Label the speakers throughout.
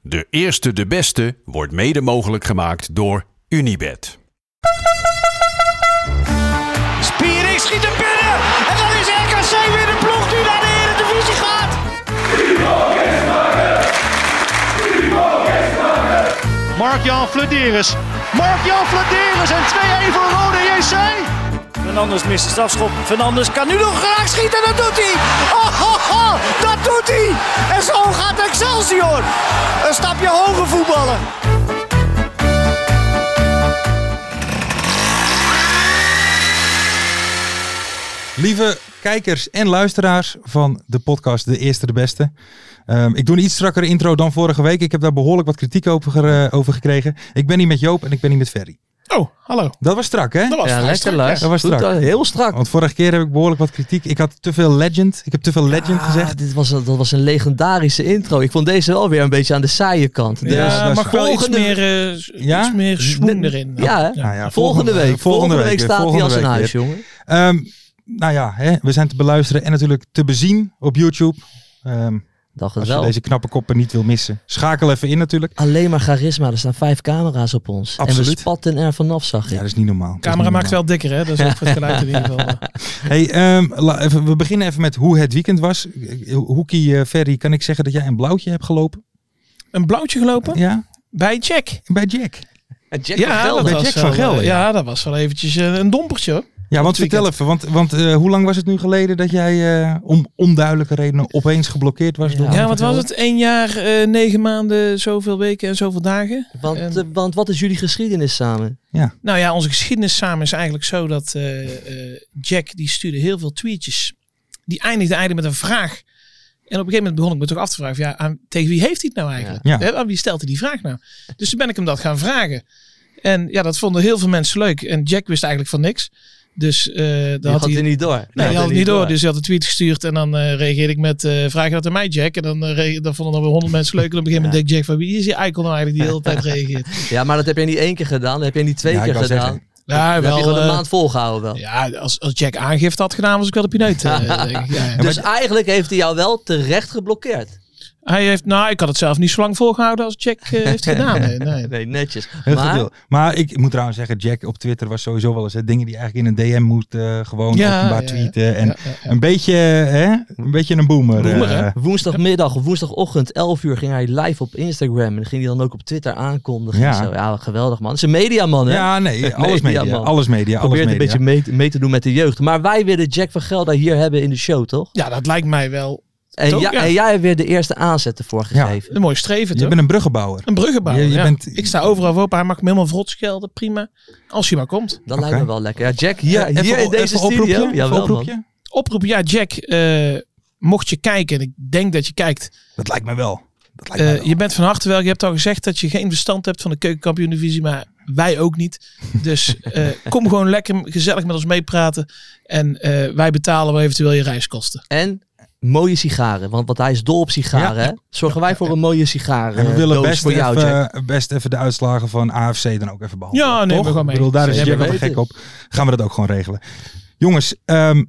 Speaker 1: De eerste, de beste wordt mede mogelijk gemaakt door Unibed.
Speaker 2: Spiering schiet hem binnen. En dan is RKC weer de ploeg die naar de Eredivisie gaat. Mark-Jan Flederis. Mark-Jan Flederis en 2-1 voor Rode JC. Fernandes mist de strafschop. Fernandes kan nu nog graag schieten. Dat doet hij. Oh, oh, oh, dat doet hij. En zo gaat Excelsior. Een stapje hoger voetballen.
Speaker 3: Lieve kijkers en luisteraars van de podcast De Eerste de Beste. Ehm, ik doe een iets strakkere intro dan vorige week. Ik heb daar behoorlijk wat kritiek over, ge- over gekregen. Ik ben niet met Joop en ik ben niet met Ferry.
Speaker 4: Oh, hallo.
Speaker 3: Dat was strak, hè?
Speaker 4: Dat was
Speaker 5: Ja,
Speaker 4: vrij
Speaker 5: lekker
Speaker 4: strak,
Speaker 5: luister.
Speaker 4: ja.
Speaker 3: Dat was strak.
Speaker 5: Goed, eh, heel strak.
Speaker 3: Want vorige keer heb ik behoorlijk wat kritiek. Ik had te veel legend. Ik heb te veel legend
Speaker 5: Ah,
Speaker 3: gezegd.
Speaker 5: Dit was, dat was een legendarische intro. Ik vond deze wel weer een beetje aan de saaie kant. Dus-
Speaker 3: Ja,
Speaker 4: Ja,
Speaker 3: dat is
Speaker 4: maar wel iets
Speaker 5: volgende-
Speaker 4: meer, eh
Speaker 3: Ja?
Speaker 4: iets meer swoen erin.
Speaker 5: ja, hè?
Speaker 3: Nou ja,
Speaker 5: volgende, week. Volgende week,
Speaker 3: weer,
Speaker 5: staat hij
Speaker 3: volgende
Speaker 5: als een
Speaker 3: week
Speaker 5: huis,
Speaker 3: weer.
Speaker 5: jongen.
Speaker 3: Ehm, nou ja, hè, we zijn te beluisteren en natuurlijk te bezien op YouTube. Ehm,
Speaker 5: Dacht het
Speaker 3: als je
Speaker 5: wel.
Speaker 3: deze knappe koppen niet wil missen. Schakel even in natuurlijk.
Speaker 5: Alleen maar charisma. Er staan vijf camera's op ons. En
Speaker 3: Absoluut.
Speaker 5: we spatten er vanaf, zag
Speaker 3: Ja,
Speaker 5: ik.
Speaker 3: dat is niet normaal. Dat
Speaker 4: De
Speaker 3: is
Speaker 4: camera
Speaker 3: niet
Speaker 4: maakt
Speaker 3: normaal.
Speaker 4: wel dikker, hè? Dat is ook voor het geluid in ieder geval. eh.
Speaker 3: Hey, ehm, la- even- we beginnen even met hoe het weekend was. Eh, Hoekie eh, Ferry, kan ik zeggen dat jij een blauwtje hebt gelopen?
Speaker 4: Een blauwtje gelopen
Speaker 3: Ja,
Speaker 4: bij Jack.
Speaker 3: bij Jack.
Speaker 5: Jack
Speaker 4: Ja, dat
Speaker 3: bij
Speaker 4: was
Speaker 3: Jack
Speaker 4: wel,
Speaker 3: van Gelder,
Speaker 4: eh,
Speaker 3: ja.
Speaker 4: Ja, dat was wel eventjes eh, een dompertje. hoor.
Speaker 3: Ja, want
Speaker 4: Dit
Speaker 3: vertel even, want, want eh, hoe lang was het nu geleden dat jij eh, om onduidelijke redenen opeens geblokkeerd was? Door
Speaker 5: Ja,
Speaker 4: Ja,
Speaker 3: Van
Speaker 4: wat
Speaker 3: Gelder?
Speaker 4: was het? Eén jaar, eh, negen maanden, zoveel weken en zoveel dagen.
Speaker 5: Want,
Speaker 4: En-
Speaker 5: eh, want wat is jullie geschiedenis samen?
Speaker 4: Nou ja, onze geschiedenis samen is eigenlijk zo dat eh, eh, Jack die stuurde heel veel tweetjes. Die eindigde eigenlijk met een vraag. En op een gegeven moment begon ik me toch af te vragen: ja, aan, tegen wie heeft hij het nou eigenlijk?
Speaker 3: Ja. Ja.
Speaker 4: Hè, aan wie stelt hij die vraag nou? Dus toen ben ik hem dat gaan vragen. En ja, dat vonden heel veel mensen leuk. En Jack wist eigenlijk van niks. Dus eh daar
Speaker 5: Die
Speaker 4: had hij.
Speaker 5: er niet door.
Speaker 4: Nee,
Speaker 5: Die
Speaker 4: hij
Speaker 5: er
Speaker 4: had het niet door. Dus hij had een tweet gestuurd en dan eh, reageerde ik met eh vraag je dat aan mij, Jack. En dan, eh, reage- dan vonden dan weer honderd mensen leuk. En op een gegeven moment denkt Jack van wie is die icon nou eigenlijk die de hele tijd reageert.
Speaker 5: Ja, maar dat heb je niet één keer gedaan. Dat heb je niet twee
Speaker 3: Ja, ik
Speaker 5: keer
Speaker 3: wou
Speaker 5: gedaan.
Speaker 3: zeggen.
Speaker 4: Ja,
Speaker 5: dat heb je gewoon een
Speaker 4: eh,
Speaker 5: maand volgehouden wel.
Speaker 4: Ja, als, als Jack aangifte had gedaan, was ik wel de pineut. eh, denk ik. Ja, ja.
Speaker 5: Dus eigenlijk heeft hij jou wel terecht geblokkeerd.
Speaker 4: Hij heeft, nou, ik had het zelf niet zo lang volgehouden als Jack eh, heeft gedaan. Nee, nee.
Speaker 5: Nee, netjes.
Speaker 3: Heel goed
Speaker 5: maar
Speaker 3: deel. maar ik moet trouwens zeggen, Jack op Twitter was sowieso wel eens hè, dingen die eigenlijk in een DM moet eh, gewoon
Speaker 4: Ja,
Speaker 3: openbaar
Speaker 4: ja,
Speaker 3: tweeten. En
Speaker 4: Ja, ja, ja.
Speaker 3: Een, beetje, hè, een beetje een boomer.
Speaker 4: Boomer, hè?
Speaker 3: eh.
Speaker 5: Woensdagmiddag of woensdagochtend, 11 uur, ging hij live op Instagram. En ging hij dan ook op Twitter aankondigen.
Speaker 3: Ja.
Speaker 5: Ja, zo. ja geweldig man. Het is een mediaman, hè?
Speaker 3: ja, nee, alles
Speaker 5: Media,
Speaker 3: media,
Speaker 5: man.
Speaker 3: alles media, alles
Speaker 5: Probeert
Speaker 3: media.
Speaker 5: een beetje mee, te- mee te doen met de jeugd. Maar wij willen Jack van Gelder hier hebben in de show, toch?
Speaker 4: ja, dat lijkt mij wel
Speaker 5: En,
Speaker 4: Toch?
Speaker 5: ja,
Speaker 4: Ja.
Speaker 5: en jij hebt weer de eerste aanzet ervoor gegeven.
Speaker 4: een mooi streven,
Speaker 3: Je
Speaker 4: toch?
Speaker 3: bent een bruggenbouwer.
Speaker 4: Een bruggenbouwer,
Speaker 3: Je- je
Speaker 4: ja.
Speaker 3: bent-
Speaker 4: Ik sta overal voor open. Hij mag me helemaal vrot schelden. Prima. Als hij maar komt.
Speaker 5: Dat
Speaker 3: Oké.
Speaker 5: lijkt me wel lekker. Ja, Jack, eh, hier,
Speaker 3: Eh, Even-
Speaker 5: hier in
Speaker 3: even
Speaker 5: deze
Speaker 3: oproepje,
Speaker 5: studio.
Speaker 3: even
Speaker 5: Jawel, man.
Speaker 3: oproepje.
Speaker 4: Oproep, ja, Jack. eh, mocht je kijken, en ik denk dat je kijkt.
Speaker 3: Dat lijkt me wel. Dat lijkt me
Speaker 4: eh,
Speaker 3: wel.
Speaker 4: je bent van harte wel. Je hebt al gezegd dat je geen verstand hebt van de keukenkampioen-divisie. Maar wij ook niet. Dus eh, kom gewoon lekker gezellig met ons meepraten. En eh, wij betalen wel eventueel je reiskosten.
Speaker 5: En mooie sigaren. Want, want hij is dol op sigaren. hè? Zorgen wij voor een mooie sigaren.
Speaker 3: En we
Speaker 5: eh,
Speaker 3: willen
Speaker 5: doos
Speaker 3: best
Speaker 5: voor jou, Jack.
Speaker 3: even, best even de uitslagen van AFC dan ook even behandelen.
Speaker 4: Ja, neem
Speaker 3: toch?
Speaker 4: we gewoon mee.
Speaker 3: Ik bedoel, daar is
Speaker 4: Zeker
Speaker 3: Jack wel
Speaker 5: weten.
Speaker 3: gek op. Gaan we dat ook gewoon regelen. Jongens, ehm,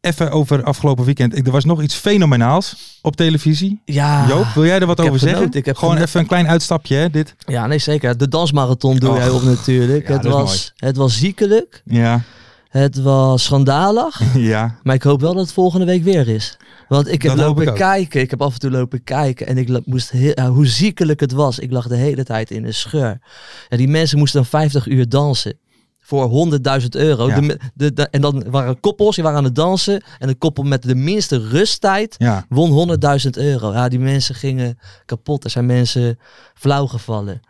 Speaker 3: even over afgelopen weekend. Ik- Er was nog iets fenomenaals op televisie.
Speaker 5: Ja.
Speaker 3: Joop, wil jij er wat
Speaker 5: Ah, ik heb
Speaker 3: over zeggen?
Speaker 5: genoten, ik heb
Speaker 3: gewoon
Speaker 5: genoten.
Speaker 3: even een klein uitstapje, hè, dit.
Speaker 5: ja, nee zeker. De dansmarathon doe
Speaker 3: Och.
Speaker 5: jij op natuurlijk.
Speaker 3: Ja,
Speaker 5: het,
Speaker 3: dat is
Speaker 5: was, het was ziekelijk.
Speaker 3: Ja,
Speaker 5: Het was schandalig.
Speaker 3: ja.
Speaker 5: Maar ik hoop wel dat het volgende week weer is. Want ik heb
Speaker 3: Dat hoop
Speaker 5: lopen
Speaker 3: ik ook.
Speaker 5: kijken. Ik heb af en toe lopen kijken. En ik la- moest heel, ja, hoe ziekelijk het was. Ik lag de hele tijd in een scheur. En die mensen moesten dan 50 uur dansen. Voor 100.000 euro.
Speaker 3: Ja.
Speaker 5: De me- de- de- en dan waren koppels, die waren aan het dansen. En een koppel met de minste rusttijd
Speaker 3: Ja,
Speaker 5: won 100.000 euro. Ja, die mensen gingen kapot. Er zijn mensen flauw gevallen.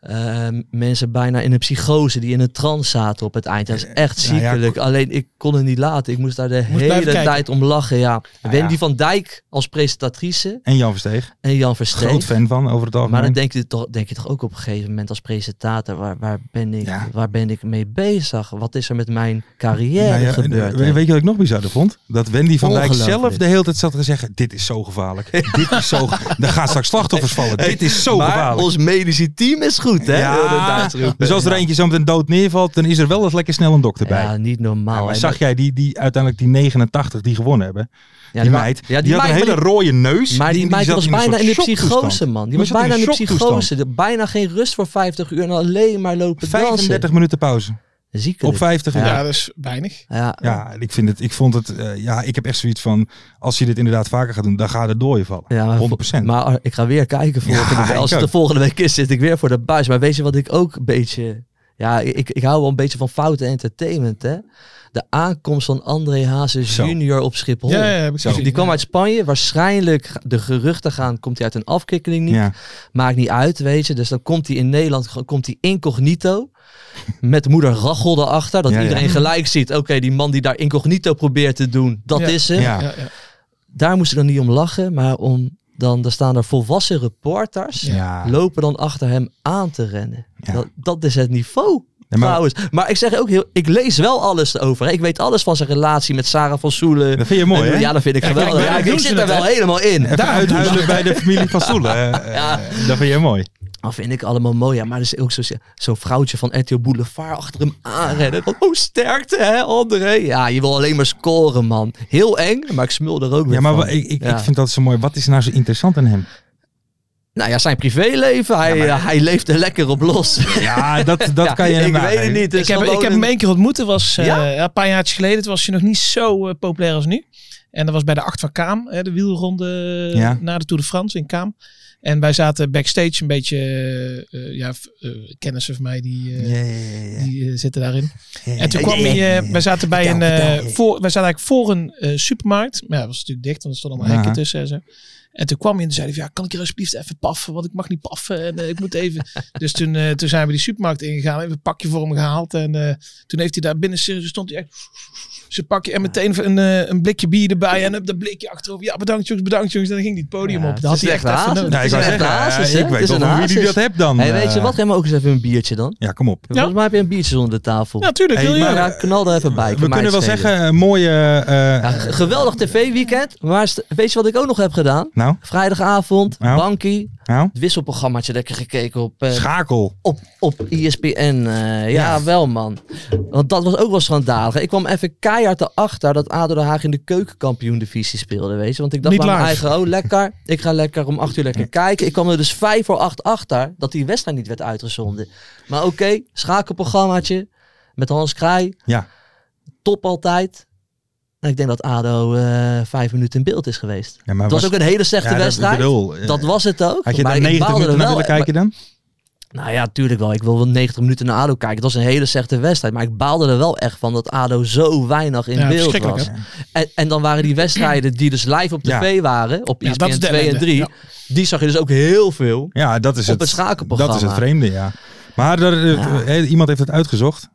Speaker 5: Eh, mensen bijna in een psychose die in een trance zaten op het eind. Dat is echt
Speaker 3: Nou ja,
Speaker 5: ziekelijk. Alleen ik kon het niet laten. Ik moest daar de
Speaker 4: Moest
Speaker 5: hele
Speaker 4: blijven kijken.
Speaker 5: tijd om lachen. Ja.
Speaker 3: Nou ja.
Speaker 5: Wendy van Dijk als presentatrice
Speaker 3: en Jan Versteeg.
Speaker 5: en Jan Versteeg.
Speaker 3: Groot fan van, over het algemeen.
Speaker 5: Maar dan denk je, toch, denk je toch ook op een gegeven moment als presentator, waar, waar, ben ik,
Speaker 3: Ja.
Speaker 5: waar ben ik mee bezig? Wat is er met mijn carrière
Speaker 3: Nou ja,
Speaker 5: gebeurd?
Speaker 3: we- weet je wat ik nog bizarder vond? Dat Wendy van Dijk
Speaker 5: Ongelooflijk.
Speaker 3: zelf de hele tijd zat te zeggen: Dit is zo gevaarlijk. dit is zo. ge- Er gaan straks slachtoffers vallen. Dit is zo
Speaker 5: maar
Speaker 3: gevaarlijk.
Speaker 5: ons medische team is goed. goed, hè?
Speaker 3: Ja.
Speaker 5: Wilde Duits roepen.
Speaker 3: Dus als er
Speaker 5: Ja.
Speaker 3: eentje zo meteen dood neervalt, dan is er wel eens lekker snel een dokter bij.
Speaker 5: Ja, niet
Speaker 3: Ja,
Speaker 5: normaal.
Speaker 3: maar
Speaker 5: En
Speaker 3: zag
Speaker 5: dat-
Speaker 3: jij die, die uiteindelijk die 89 die gewonnen hebben?
Speaker 5: ja,
Speaker 3: die
Speaker 5: ma-
Speaker 3: meid.
Speaker 5: Ja, die,
Speaker 3: die, had
Speaker 5: meid,
Speaker 3: een hele
Speaker 5: maar
Speaker 3: rode neus.
Speaker 5: Maar die, meid
Speaker 3: zat
Speaker 5: was
Speaker 3: een
Speaker 5: bijna
Speaker 3: soort
Speaker 5: in de
Speaker 3: shocktoestand.
Speaker 5: psychose, man. Die was
Speaker 3: zat
Speaker 5: bijna in de
Speaker 3: shocktoestand.
Speaker 5: psychose. De- Bijna geen rust voor 50 uur en alleen maar lopen dansen.
Speaker 3: 35 minuten pauze.
Speaker 5: Ziekelijk.
Speaker 3: Op 50
Speaker 5: Ja.
Speaker 3: uur.
Speaker 4: Ja, dat is weinig.
Speaker 5: Ja, ja.
Speaker 3: Ja, ik, vind het, ik vond het... eh, ja, ik heb echt zoiets van... Als je dit inderdaad vaker gaat doen, dan gaat het door je vallen.
Speaker 5: maar,
Speaker 3: 100%.
Speaker 5: Maar ah, ik ga weer kijken volgende
Speaker 3: Ja,
Speaker 5: week.
Speaker 3: ik
Speaker 5: Als het
Speaker 3: ook.
Speaker 5: de volgende week is, zit ik weer voor de buis. Maar weet je wat ik ook een beetje... Ja, ik, ik hou wel een beetje van foute entertainment, hè. De aankomst van André Hazes
Speaker 3: Zo.
Speaker 5: junior op Schiphol.
Speaker 4: Ja, ja, heb ik
Speaker 3: Zo.
Speaker 4: gezien.
Speaker 5: Oh, Die kwam uit Spanje. Waarschijnlijk, de geruchten gaan, komt hij uit een afkikkeling niet.
Speaker 3: ja.
Speaker 5: Maakt niet uit, weet je. Dus dan komt hij in Nederland, ge- komt hij incognito. Met moeder Rachel erachter. Dat
Speaker 3: Ja, ja.
Speaker 5: iedereen gelijk ziet. Oké, die man die daar incognito probeert te doen. Dat
Speaker 4: Ja.
Speaker 5: is hem.
Speaker 3: Ja.
Speaker 4: Ja, ja.
Speaker 5: Daar moest ik dan niet om lachen. Maar om dan, daar staan er volwassen reporters.
Speaker 3: Ja.
Speaker 5: Lopen dan achter hem aan te rennen.
Speaker 3: Ja.
Speaker 5: Dat, dat is het niveau.
Speaker 3: Ja, maar-
Speaker 5: trouwens. Maar ik zeg ook heel, ik lees wel alles erover. hè. Ik weet alles van zijn relatie met Sarah van Soelen.
Speaker 3: Dat vind je mooi,
Speaker 5: En-
Speaker 3: hè?
Speaker 5: Ja, dat vind ik
Speaker 4: Ja, kijk,
Speaker 5: geweldig.
Speaker 4: maar
Speaker 5: Ja,
Speaker 4: dat
Speaker 5: ik
Speaker 4: doen
Speaker 5: zit
Speaker 4: ze
Speaker 5: er
Speaker 4: dat,
Speaker 5: wel helemaal in.
Speaker 3: Even uithuilen bij de familie van Soelen. eh, eh, Dat vind je mooi.
Speaker 5: Dat vind ik allemaal mooi. Ja, maar er is ook zo'n zo vrouwtje van RTL Boulevard achter hem aanrennen. Van, oh, sterkte hè, André. Ja, je wil alleen maar scoren, man. Heel eng, maar ik smul er ook weer
Speaker 3: Ja, maar
Speaker 5: van.
Speaker 3: wa- ik, ik,
Speaker 5: Ja.
Speaker 3: ik vind dat zo mooi. Wat is nou zo interessant aan hem?
Speaker 5: Nou ja, zijn privéleven, hij, eh, hij leeft er lekker op los.
Speaker 3: Ja, dat, dat
Speaker 5: Ja,
Speaker 3: kan je
Speaker 5: Ik
Speaker 3: hem
Speaker 5: weet het
Speaker 3: nageven.
Speaker 5: niet. Het
Speaker 4: Ik
Speaker 5: is
Speaker 4: heb, ik
Speaker 5: gewoon
Speaker 4: heb
Speaker 5: een-
Speaker 4: hem één keer ontmoet. Dat was eh,
Speaker 5: Dus Ja?
Speaker 4: een paar jaartjes geleden. Toen was hij nog niet zo eh, populair als nu. En dat was bij de Acht van Kaam. Hè, de wielronde eh,
Speaker 3: Ja.
Speaker 4: na de Tour de France in Kaam. En wij zaten backstage een beetje... eh, eh, ja, v- eh, kennissen van mij die, eh,
Speaker 3: Ja, ja, ja, ja.
Speaker 4: die eh, zitten daarin.
Speaker 3: Ja,
Speaker 4: En toen
Speaker 3: ja,
Speaker 4: kwam
Speaker 3: ja,
Speaker 4: hij...
Speaker 3: ja,
Speaker 4: eh,
Speaker 3: ja.
Speaker 4: wij zaten bij een...
Speaker 3: Vertel,
Speaker 4: eh,
Speaker 3: vertel, ja.
Speaker 4: voor, wij zaten eigenlijk voor een eh, supermarkt. Maar ja, dat was natuurlijk dicht. Want er stonden allemaal
Speaker 3: Ja.
Speaker 4: hekken tussen en zo. En toen kwam hij en toen zei hij van, ja, kan ik hier alsjeblieft even paffen? Want ik mag niet paffen en eh, ik moet even... dus toen, eh, toen zijn we die supermarkt ingegaan, hebben een pakje voor hem gehaald. En eh, toen heeft hij daar binnen, serieus, stond hij echt... Zijn pakje en meteen een, eh, een blikje bier erbij en hup, dat blikje achterover. Ja, bedankt jongens, bedankt jongens. En dan ging hij het podium
Speaker 5: Ja,
Speaker 4: op.
Speaker 5: het
Speaker 4: Dat had
Speaker 5: is
Speaker 4: hij echt
Speaker 5: echt een
Speaker 4: even
Speaker 5: hazes.
Speaker 4: nodig.
Speaker 3: Nou, ik wou
Speaker 5: Het is
Speaker 3: zeggen,
Speaker 5: echt een hazes,
Speaker 3: eh,
Speaker 5: hè?
Speaker 3: ik
Speaker 5: Het
Speaker 3: weet
Speaker 5: is
Speaker 3: wel
Speaker 5: een
Speaker 3: van wie die
Speaker 5: hazes.
Speaker 3: dat hebt dan.
Speaker 5: Hey, weet je
Speaker 3: eh.
Speaker 5: wat? Geef me ook eens even een biertje dan.
Speaker 3: Ja, kom op.
Speaker 5: Volgens mij heb je een biertje onder de tafel.
Speaker 4: Ja, tuurlijk.
Speaker 3: Hey,
Speaker 4: wil je.
Speaker 3: maar-
Speaker 5: ja, knal er even bij. kan
Speaker 3: We
Speaker 5: mij
Speaker 3: kunnen wel
Speaker 5: het schelen.
Speaker 3: zeggen, eh, mooie... eh,
Speaker 5: Ja, ge- geweldig tv-weekend. Maar st- weet je wat ik ook nog heb gedaan?
Speaker 3: nou,
Speaker 5: Vrijdagavond,
Speaker 3: Nou.
Speaker 5: bankie,
Speaker 3: nou,
Speaker 5: het wisselprogrammaatje lekker gekeken op, eh,
Speaker 3: schakel.
Speaker 5: op, op E ESPN. eh, ja, wel man. Want dat was ook wel schandalig. Ik kwam even keihard erachter dat ADO Den Haag in de keukenkampioen-divisie speelde, weet je. Want ik dacht
Speaker 4: Niet
Speaker 5: bij mijn
Speaker 4: live.
Speaker 5: eigen, oh lekker, ik ga lekker om acht uur lekker kijken. Ik kwam er dus vijf voor acht achter dat die wedstrijd niet werd uitgezonden. Maar oké, schakelprogrammaatje met Hans Krij,
Speaker 3: Ja.
Speaker 5: top altijd. En ik denk dat ADO eh, vijf minuten in beeld is geweest.
Speaker 3: Ja, maar
Speaker 5: Het was ook een hele slechte
Speaker 3: ja, dat-
Speaker 5: wedstrijd. Dat,
Speaker 3: bedoel, eh,
Speaker 5: was het ook.
Speaker 3: Had je
Speaker 5: maar
Speaker 3: daar
Speaker 5: ik
Speaker 3: 90
Speaker 5: baalde er
Speaker 3: minuten naar
Speaker 5: wel-
Speaker 3: willen kijken dan?
Speaker 5: nou ja, tuurlijk wel. Ik wil wel 90 minuten naar ADO kijken. Het was een hele slechte wedstrijd. Maar ik baalde er wel echt van dat ADO zo weinig in
Speaker 4: Ja,
Speaker 5: beeld
Speaker 4: verschrikkelijk,
Speaker 5: was. En, en dan waren die wedstrijden die dus live op
Speaker 3: Ja.
Speaker 5: tv waren, op E
Speaker 4: Ja,
Speaker 5: ESPN
Speaker 4: dat is de
Speaker 5: 2 en
Speaker 4: ellende.
Speaker 5: 3,
Speaker 4: Ja.
Speaker 5: die zag je dus ook heel veel.
Speaker 3: Ja, dat is
Speaker 5: Op
Speaker 3: het,
Speaker 5: het schakelprogramma.
Speaker 3: Dat is het vreemde, ja. Maar er, eh, eh, iemand heeft het uitgezocht.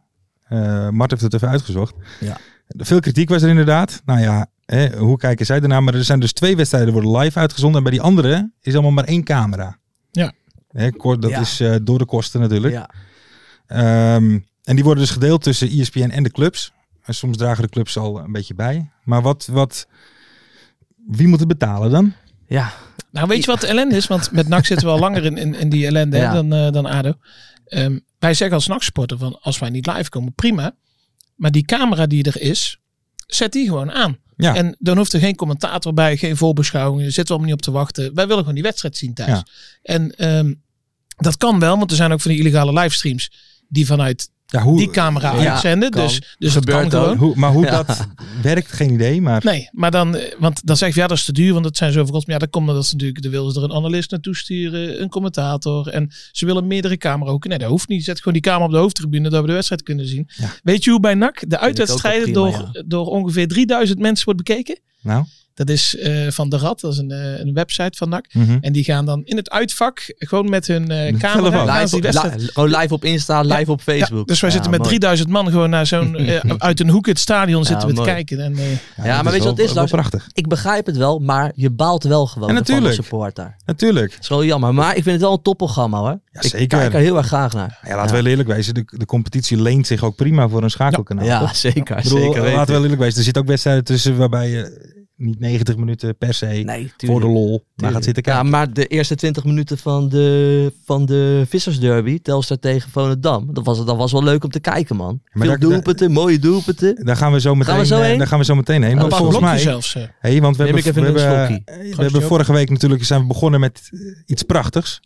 Speaker 3: Eh Mart heeft het even uitgezocht.
Speaker 5: Ja.
Speaker 3: Veel kritiek was er inderdaad. Nou ja, eh, hoe kijken zij ernaar? Maar er zijn dus twee wedstrijden worden live uitgezonden. En bij die andere is allemaal maar één camera.
Speaker 4: Ja.
Speaker 3: Hè, kort, dat
Speaker 5: Ja.
Speaker 3: is eh, door de kosten natuurlijk.
Speaker 5: Ja.
Speaker 3: Ehm, en die worden dus gedeeld tussen ESPN en de clubs. En soms dragen de clubs al een beetje bij. Maar wat, wat, wie moet het betalen dan? Oh.
Speaker 5: ja.
Speaker 4: Nou, weet je wat de ellende is? Want met NAC zitten we al langer in, in, in die ellende hè,
Speaker 5: Ja.
Speaker 4: dan, eh, dan ADO. Ehm, wij zeggen als NAC-sporter van als wij niet live komen, prima. Maar die camera die er is, zet die gewoon aan.
Speaker 3: Ja.
Speaker 4: En dan hoeft er geen commentator bij, geen voorbeschouwingen. Zitten we allemaal niet op te wachten. Wij willen gewoon die wedstrijd zien thuis.
Speaker 3: Ja.
Speaker 4: En ehm, dat kan wel, want er zijn ook van die illegale livestreams die vanuit
Speaker 3: Ja, hoe,
Speaker 4: die camera
Speaker 5: Ja,
Speaker 4: uitzenden.
Speaker 5: kan.
Speaker 4: Dus, dus dat
Speaker 5: Gebeurt
Speaker 4: kan gewoon.
Speaker 3: hoe, maar hoe
Speaker 5: Ja.
Speaker 3: dat werkt, geen idee. Maar
Speaker 4: Nee, maar dan, eh, want dan zeg je ja, dat is te duur, want dat zijn zoveel kosten. Maar ja, dat komt omdat ze natuurlijk, er willen ze er een analist naartoe sturen, een commentator. En ze willen meerdere camera's. Nee, dat hoeft niet. Zet gewoon die camera op de hoofdtribune, dat we de wedstrijd kunnen zien.
Speaker 3: Ja.
Speaker 4: Weet je hoe bij NAC de uitwedstrijden
Speaker 5: ook wel prima,
Speaker 4: door, door ongeveer 3000 mensen wordt bekeken?
Speaker 3: nou.
Speaker 4: Dat is eh, van De Rad, dat is een, eh, een website van NAC.
Speaker 3: mhm.
Speaker 4: En die gaan dan in het uitvak gewoon met hun eh
Speaker 3: telefoon.
Speaker 4: camera gaan ze
Speaker 5: Live,
Speaker 4: die
Speaker 5: op,
Speaker 4: wedstrijd
Speaker 5: li- gewoon live op Insta, live op Facebook.
Speaker 4: ja, dus wij
Speaker 5: Ja,
Speaker 4: zitten met
Speaker 5: mooi.
Speaker 4: 3000 man gewoon naar zo'n, eh, uit een hoek het stadion zitten we te
Speaker 5: mooi.
Speaker 4: kijken. En, eh,
Speaker 5: Ja, maar weet je wat het
Speaker 3: wel-
Speaker 5: is,
Speaker 3: wel
Speaker 5: Lars?
Speaker 3: prachtig.
Speaker 5: Ik begrijp het wel, maar je baalt wel gewoon
Speaker 3: Ja,
Speaker 5: van de
Speaker 3: natuurlijk.
Speaker 5: supporter.
Speaker 3: Natuurlijk.
Speaker 5: Dat is wel jammer. Maar ik vind het wel een topprogramma hoor.
Speaker 3: Ja,
Speaker 5: Ik
Speaker 3: zeker.
Speaker 5: kijk er heel erg graag naar.
Speaker 3: Ja, laten we wel eerlijk wezen, de, de competitie leent zich ook prima voor een schakelkanaal.
Speaker 5: Ja,
Speaker 3: toch?
Speaker 5: zeker.
Speaker 3: Ik bedoel,
Speaker 5: zeker
Speaker 3: laten we
Speaker 5: weten.
Speaker 3: wel eerlijk wezen, er zitten ook wedstrijden tussen waarbij je niet 90 minuten per se
Speaker 5: Nee,
Speaker 3: voor de lol naar gaat zitten
Speaker 5: Ja,
Speaker 3: kijken.
Speaker 5: maar de eerste 20 minuten van de, van de Vissersderby, Telstar tegen Volendam, dat was, dat was wel leuk om te kijken, man.
Speaker 3: maar
Speaker 5: Veel
Speaker 3: daar- daar-
Speaker 5: doelpunten, mooie doelpunten.
Speaker 3: Daar gaan we zo meteen,
Speaker 5: we zo
Speaker 3: eh,
Speaker 5: heen?
Speaker 3: daar gaan we zo meteen heen. Want
Speaker 4: Een paar
Speaker 3: volgens
Speaker 4: blokjes
Speaker 3: mij,
Speaker 4: zelfs. eh.
Speaker 3: Hey, want we
Speaker 5: Neem
Speaker 3: hebben,
Speaker 5: ik even
Speaker 3: we
Speaker 5: een
Speaker 3: hebben,
Speaker 5: slokje.
Speaker 3: eh, we
Speaker 4: Gastje
Speaker 3: hebben
Speaker 4: ook.
Speaker 3: vorige week natuurlijk zijn we begonnen met eh, iets prachtigs.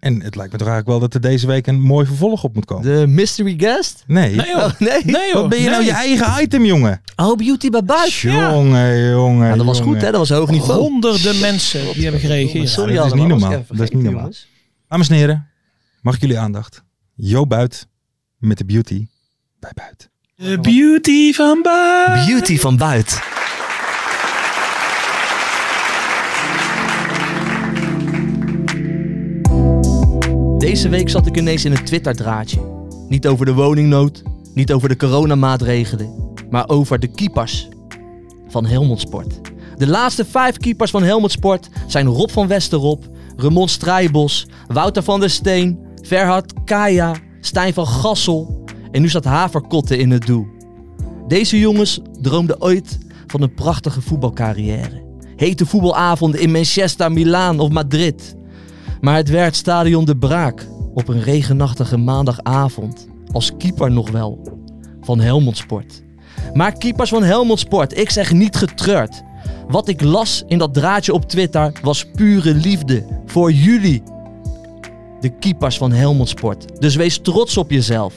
Speaker 3: En het lijkt me toch eigenlijk wel dat er deze week een mooi vervolg op moet komen.
Speaker 5: De mystery guest?
Speaker 3: Nee.
Speaker 4: Nee joh.
Speaker 5: Oh, nee.
Speaker 4: Nee joh.
Speaker 3: Wat ben je nou
Speaker 4: Nee.
Speaker 3: je eigen item, jongen?
Speaker 5: Oh, Beauty Babush.
Speaker 3: Jongen, jongen.
Speaker 5: dat was
Speaker 3: jongen.
Speaker 5: goed, hè? Dat was hoog
Speaker 3: Oh.
Speaker 5: niveau.
Speaker 4: Honderden mensen die hebben gereageerd.
Speaker 5: Sorry
Speaker 3: Ja, dat is
Speaker 5: allemaal,
Speaker 3: niet
Speaker 5: was ik
Speaker 3: normaal.
Speaker 5: even
Speaker 3: Dat is
Speaker 5: vergeten,
Speaker 3: niet normaal.
Speaker 5: jongens.
Speaker 3: Dames en heren, mag ik jullie aandacht? Jo Buit met de beauty bij Buit.
Speaker 4: De beauty van Baar.
Speaker 5: Beauty van buiten. Deze week zat ik ineens in een Twitter-draadje. Niet over de woningnood, niet over de coronamaatregelen, maar over de keepers van Helmond Sport. De laatste vijf keepers van Helmond Sport zijn Rob van Westerop, Ramon Strijbos, Wouter van der Steen, Verhard Kaya, Stijn van Gassel en nu staat Haverkotten in het doel. Deze jongens droomden ooit van een prachtige voetbalcarrière. Hete voetbalavonden in Manchester, Milaan of Madrid. Maar het werd stadion De Braak op een regenachtige maandagavond. Als keeper nog wel. Van Helmond Sport. Maar keepers van Helmond Sport, ik zeg niet getreurd. Wat ik las in dat draadje op Twitter was pure liefde voor jullie. De keepers van Helmond Sport. Dus wees trots op jezelf.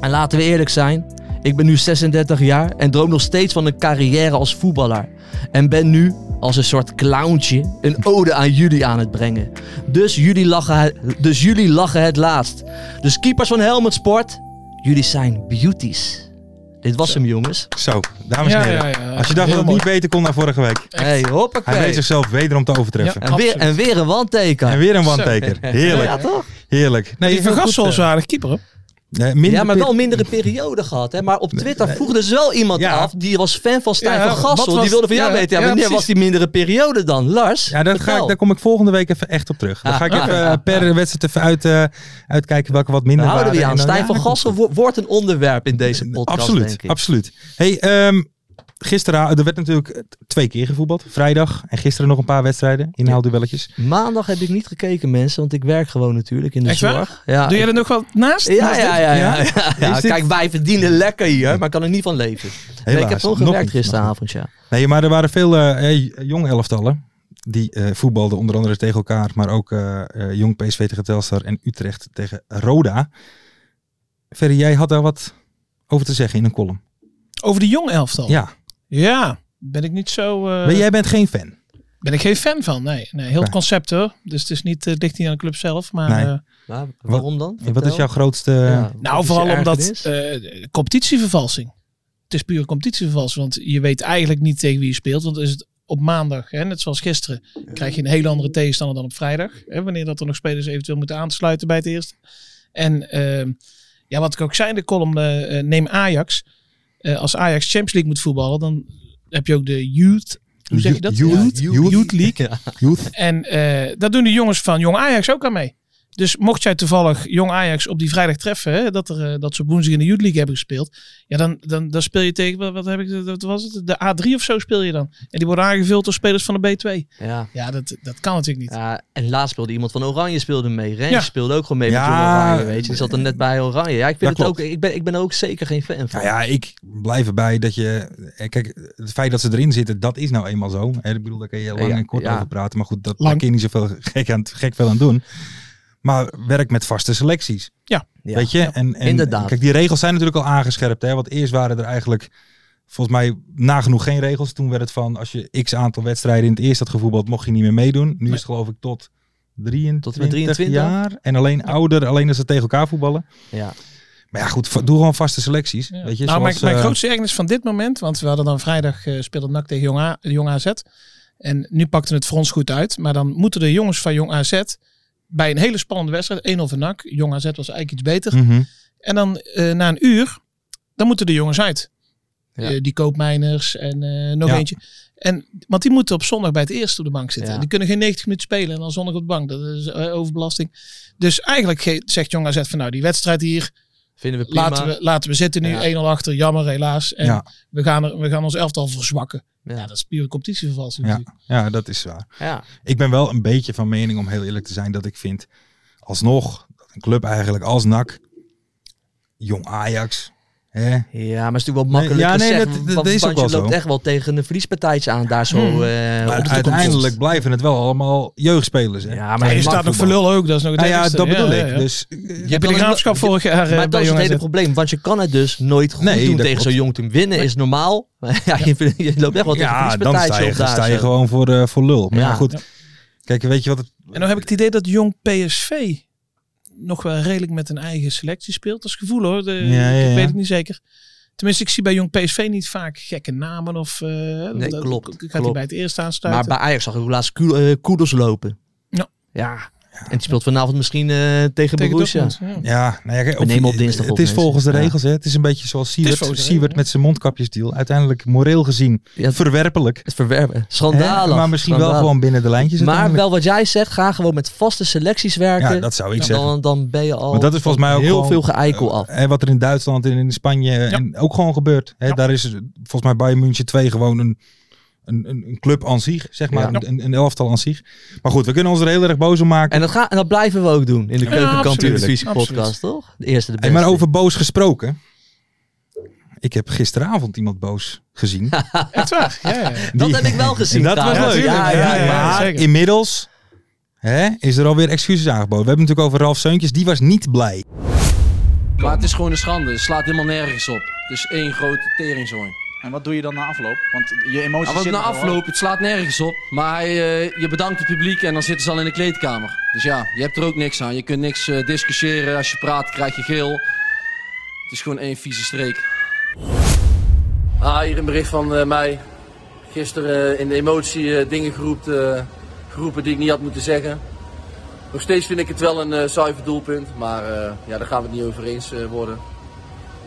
Speaker 5: En laten we eerlijk zijn, ik ben nu 36 jaar en droom nog steeds van een carrière als voetballer. En ben nu, als een soort clowntje, een ode aan jullie aan het brengen. Dus jullie lachen, het- dus jullie lachen het laatst. Dus keepers van Helmond Sport, jullie zijn beauties. Dit was hem, jongens.
Speaker 3: Zo, dames en
Speaker 4: Ja,
Speaker 3: heren.
Speaker 4: ja, ja.
Speaker 3: Als je dacht dat
Speaker 4: Heel
Speaker 3: het niet beter kon dan vorige week.
Speaker 5: Hey,
Speaker 3: Hij
Speaker 5: hoppakee.
Speaker 3: weet zichzelf wederom te overtreffen.
Speaker 4: Ja.
Speaker 5: En weer,
Speaker 4: Absoluut.
Speaker 5: en weer een one-taker.
Speaker 3: En weer een
Speaker 4: Zo.
Speaker 3: one-taker.
Speaker 5: Ja,
Speaker 3: Heerlijk,
Speaker 5: toch?
Speaker 3: heerlijk.
Speaker 4: Nee, die
Speaker 3: heel
Speaker 4: van Gassel
Speaker 3: goed,
Speaker 4: was een aardig keeper. hè?
Speaker 3: eh, eh, minder
Speaker 5: Ja, maar
Speaker 3: pit-
Speaker 5: wel een mindere periode gehad. Hè? Maar op Twitter voegde ze wel iemand
Speaker 3: Ja.
Speaker 5: af. Die was fan van Stijn
Speaker 4: Ja,
Speaker 5: van
Speaker 4: wat
Speaker 5: Gassel.
Speaker 4: was-
Speaker 5: Die wilde van jou
Speaker 4: ja,
Speaker 5: weten. Ja,
Speaker 4: ja,
Speaker 5: wanneer
Speaker 4: precies.
Speaker 5: was die mindere periode dan? Lars?
Speaker 3: Ja, dat ga ik,
Speaker 5: vertel.
Speaker 3: daar kom ik volgende week even echt op terug. Dan ga ik
Speaker 5: Ah,
Speaker 3: even
Speaker 5: ah,
Speaker 3: eh,
Speaker 5: ah,
Speaker 3: per wedstrijd even uit, eh, uitkijken welke wat minder
Speaker 5: Daar houden we je
Speaker 3: waren. En
Speaker 5: aan.
Speaker 3: dan-
Speaker 5: Stijn
Speaker 3: ja,
Speaker 5: van
Speaker 3: dat komt
Speaker 5: Gassel wo- wordt een onderwerp in deze podcast,
Speaker 3: absoluut,
Speaker 5: denk ik.
Speaker 3: Absoluut. Hey, ehm, gisteren, er werd natuurlijk twee keer gevoetbald. Vrijdag en gisteren nog een paar wedstrijden. Inhaalduelletjes.
Speaker 5: Maandag heb ik niet gekeken, mensen. Want ik werk gewoon natuurlijk in de
Speaker 4: Echt waar?
Speaker 5: zorg. Ja.
Speaker 4: Doe jij er nog wat naast?
Speaker 5: ja, ja, ja, ja,
Speaker 3: Ah, Ja?
Speaker 5: ja. Ja,
Speaker 3: Is dit-
Speaker 5: Kijk, wij verdienen lekker hier, maar kan er niet van leven. Nee,
Speaker 3: Helaas,
Speaker 5: ik heb gewoon
Speaker 3: nog
Speaker 5: gewerkt
Speaker 3: niet, nog
Speaker 5: gisteravond, ja.
Speaker 3: Nee, maar er waren veel eh, eh, jong elftallen. Die eh, voetbalden onder andere tegen elkaar. Maar ook eh, eh, jong PSV tegen Telstar en Utrecht tegen Roda. Ferry, jij had daar wat over te zeggen in een column.
Speaker 4: Over de jong elftal.
Speaker 3: Ja,
Speaker 4: Ja, Ben ik niet zo. eh,
Speaker 3: maar jij bent geen fan.
Speaker 4: Ben ik geen fan van. Nee, nee heel
Speaker 3: Nee.
Speaker 4: het concept hoor. Dus het is niet, eh, ligt niet aan de club zelf. Maar
Speaker 3: Nee.
Speaker 4: eh,
Speaker 5: Maar waarom dan?
Speaker 3: Wat is jouw eh, grootste...
Speaker 4: Nou, vooral omdat eh, competitievervalsing. Het is puur competitievervalsing. Want je weet eigenlijk niet tegen wie je speelt. Want is het op maandag, hè, net zoals gisteren, krijg je een hele andere tegenstander dan op vrijdag. Hè, wanneer dat er nog spelers eventueel moeten aansluiten bij het eerste. En ehm, ja, wat ik ook zei in de column, eh, eh, neem Ajax. Eh, als Ajax Champions League moet voetballen, dan heb je ook de youth. Hoe zeg je dat?
Speaker 3: Youth, eh, youth,
Speaker 4: youth League.
Speaker 3: Youth.
Speaker 4: En eh dat doen de jongens van Jong Ajax ook aan mee. Dus mocht jij toevallig Jong Ajax op die vrijdag treffen, hè, dat, er, eh, dat ze op woensdag in de Youth League hebben gespeeld, ja, dan, dan, dan speel je tegen, wat, wat heb ik, eh, wat was het? De A3 of zo speel je dan. En die worden aangevuld door spelers van de B2.
Speaker 5: Ja.
Speaker 4: Ja, dat, dat kan natuurlijk niet.
Speaker 5: Ja, en laatst speelde iemand van Oranje speelde mee. Rens
Speaker 4: Ja.
Speaker 5: speelde ook gewoon mee
Speaker 3: Ja,
Speaker 5: met Jong Oranje, weet je. Die zat er net bij Oranje. Ja, ik, vind
Speaker 3: dat
Speaker 5: het ook,
Speaker 3: klopt.
Speaker 5: ik, ben, ik ben er ook zeker geen fan van.
Speaker 3: Nou ja, ik blijf erbij dat je... eh, Kijk, het feit dat ze erin zitten, dat is nou eenmaal zo. Hè, Ik bedoel, daar kun je lang
Speaker 5: Ja,
Speaker 3: en kort
Speaker 5: ja.
Speaker 3: over praten. Maar goed, dat,
Speaker 4: Lang.
Speaker 3: daar kun je niet zoveel gek, aan, gek veel aan doen. Maar werk met vaste selecties.
Speaker 5: Ja.
Speaker 3: Weet je? En, en,
Speaker 5: Inderdaad.
Speaker 3: Kijk, die regels zijn natuurlijk al aangescherpt. Hè? Want eerst waren er eigenlijk volgens mij nagenoeg geen regels. Toen werd het van, als je x aantal wedstrijden in het eerst had gevoetbald, mocht je niet meer meedoen. Nu is het geloof ik tot... 23,
Speaker 5: Tot en met 23?
Speaker 3: jaar en alleen ouder, alleen als ze tegen elkaar voetballen.
Speaker 5: Ja.
Speaker 3: Maar ja, goed, va- doe gewoon vaste selecties.
Speaker 4: Ja.
Speaker 3: Weet je,
Speaker 4: nou,
Speaker 3: zoals,
Speaker 4: mijn, mijn
Speaker 3: eh,
Speaker 4: grootste ergernis van dit moment, want we hadden dan vrijdag eh speelde NAC tegen Jong, A- Jong AZ. En nu pakte het voor ons goed uit. Maar dan moeten de jongens van Jong AZ bij een hele spannende wedstrijd, 1-0 voor NAC. Jong AZ was eigenlijk iets beter.
Speaker 3: mhm.
Speaker 4: En dan eh, na een uur, dan moeten de jongens uit.
Speaker 5: Ja.
Speaker 4: Eh, die koopmijners en eh, nog
Speaker 3: Ja.
Speaker 4: eentje. En, want die moeten op zondag bij het eerste op de bank zitten.
Speaker 5: Ja.
Speaker 4: Die kunnen geen 90 minuten spelen en dan zondag op de bank. Dat is eh, overbelasting. Dus eigenlijk ge- zegt Jong AZ van nou, die wedstrijd hier,
Speaker 5: Vinden we prima.
Speaker 4: Laten we, laten we zitten nu
Speaker 5: Ja.
Speaker 4: 1-0 achter. Jammer, helaas. En
Speaker 3: Ja.
Speaker 4: we, gaan er, we gaan ons elftal verzwakken.
Speaker 5: Ja.
Speaker 4: Ja, dat is pure competitievervalsing.
Speaker 3: Ja,
Speaker 4: natuurlijk.
Speaker 3: ja, dat is waar.
Speaker 5: Ja.
Speaker 3: Ik ben wel een beetje van mening, om heel eerlijk te zijn, dat ik vind alsnog dat een club eigenlijk als NAC, jong Ajax, hè,
Speaker 5: ja, maar het is natuurlijk wel makkelijk
Speaker 3: ja, nee,
Speaker 5: gezegd.
Speaker 3: dat- dat
Speaker 5: want-
Speaker 3: is ook
Speaker 5: want
Speaker 3: wel
Speaker 5: je loopt
Speaker 3: zo.
Speaker 5: echt wel tegen een verliespartijtje aan daar zo eh, op
Speaker 3: Maar
Speaker 5: de
Speaker 3: uiteindelijk
Speaker 5: toekomst.
Speaker 3: blijven het wel allemaal jeugdspelers. Hè?
Speaker 5: Ja,
Speaker 4: Maar
Speaker 5: maar
Speaker 4: je staat nog voor lul ook. Dat is nog het
Speaker 3: nou ja,
Speaker 4: ergste.
Speaker 3: dat bedoel
Speaker 4: Ja,
Speaker 3: ik.
Speaker 4: ja, ja.
Speaker 3: Dus
Speaker 4: Je hebt de graafschap vorig jaar eh,
Speaker 5: nou- Maar dat
Speaker 4: bij
Speaker 5: is het
Speaker 4: jongens.
Speaker 5: hele probleem, want je kan het dus nooit goed
Speaker 3: Nee,
Speaker 5: doen
Speaker 3: dat
Speaker 5: tegen zo'n jong team. Winnen is normaal, maar ja, je, je loopt echt wel tegen een
Speaker 3: ja, dan sta
Speaker 5: verliespartijtje
Speaker 3: je,
Speaker 5: op daar.
Speaker 3: sta je
Speaker 5: zo.
Speaker 3: gewoon voor, eh, voor lul. Maar ja,
Speaker 5: Ja.
Speaker 3: goed.
Speaker 4: Ja.
Speaker 3: Kijk, weet je wat het...
Speaker 4: En dan heb ik het idee dat jong PSV nog wel redelijk met een eigen selectie speelt. Dat is gevoel hoor. De,
Speaker 3: Ja, ja,
Speaker 4: Ik
Speaker 3: ja.
Speaker 4: weet het niet zeker. Tenminste, ik zie bij jong PSV niet vaak gekke namen. Of, eh, dat-
Speaker 5: klopt,
Speaker 4: Gaat
Speaker 5: klopt.
Speaker 4: hij bij het eerste
Speaker 5: Maar
Speaker 4: aansluiten?
Speaker 5: bij Ajax zag ik ook laatst Ku- eh, Koeders lopen.
Speaker 4: Ja.
Speaker 5: ja. En die speelt vanavond misschien eh, tegen,
Speaker 4: tegen
Speaker 5: Borussia.
Speaker 4: Dortmund, ja.
Speaker 3: Ja, nou ja, kijk,
Speaker 5: We
Speaker 3: of-
Speaker 5: nemen op dinsdag
Speaker 3: Het
Speaker 5: op,
Speaker 3: is volgens de
Speaker 5: mensen.
Speaker 3: regels. Hè? Het is een beetje zoals
Speaker 4: Het is
Speaker 3: Siewert,
Speaker 4: volgens de
Speaker 3: Siewert
Speaker 4: regels,
Speaker 3: met zijn mondkapjesdeal. Uiteindelijk, moreel gezien,
Speaker 5: Ja,
Speaker 3: verwerpelijk.
Speaker 5: het verwerpen.
Speaker 3: hè,
Speaker 5: Schandalig.
Speaker 3: Maar misschien wel
Speaker 5: Schandalig.
Speaker 3: gewoon binnen de lijntjes.
Speaker 5: Maar
Speaker 3: uiteindelijk.
Speaker 5: wel wat jij zegt, ga gewoon met vaste selecties werken.
Speaker 3: Ja, dat zou ik
Speaker 5: En
Speaker 3: zeggen.
Speaker 5: dan, dan ben je al
Speaker 3: Want dat is volgens mij ook
Speaker 5: heel
Speaker 3: gewoon-
Speaker 5: veel geëikel af.
Speaker 3: Eh, Hè, wat er in Duitsland en in Spanje en ook gewoon gebeurt. Hè, Daar is eh, volgens mij Bayern München 2 gewoon een, een, een een club aan zich, zeg maar.
Speaker 5: Ja.
Speaker 3: Een, een, een elftal aan zich. Maar goed, we kunnen ons er heel erg boos om maken.
Speaker 5: En dat, ga, en dat blijven we ook doen in de
Speaker 4: Ja,
Speaker 5: Keukenkampioen
Speaker 4: absoluut.
Speaker 5: Divisie
Speaker 4: Absoluut.
Speaker 5: podcast, toch? De eerste, de
Speaker 3: Hey,
Speaker 5: beste.
Speaker 3: maar over boos gesproken. Ik heb gisteravond iemand boos gezien.
Speaker 4: Echt waar? Ja, ja, ja.
Speaker 5: Dat
Speaker 3: Die-
Speaker 5: heb ik wel gezien.
Speaker 3: En dat was
Speaker 5: trouwens.
Speaker 3: leuk.
Speaker 5: Ja, ja, ja.
Speaker 4: ja,
Speaker 3: maar
Speaker 4: zeker.
Speaker 3: inmiddels hè, is er alweer excuses aangeboden. We hebben het natuurlijk over Ralf Seuntjes. Die was niet blij.
Speaker 6: Maar het is gewoon een schande. Het slaat helemaal nergens op. Het is één grote teringzooi.
Speaker 7: En wat doe je dan na afloop? Want je emoties
Speaker 6: Maar wat na
Speaker 7: zitten er wel.
Speaker 6: afloop, het slaat nergens op. Maar hij, eh, je bedankt het publiek en dan zitten ze al in de kleedkamer. Dus ja, je hebt er ook niks aan. Je kunt niks eh, discussiëren. Als je praat, krijg je geel. Het is gewoon één vieze streek. Ah, hier een bericht van eh, mij. Gisteren eh, in de emotie eh, dingen geroept, eh, geroepen die ik niet had moeten zeggen. Nog steeds vind ik het wel een eh, zuiver doelpunt. Maar eh, ja, daar gaan we het niet over eens eh, worden.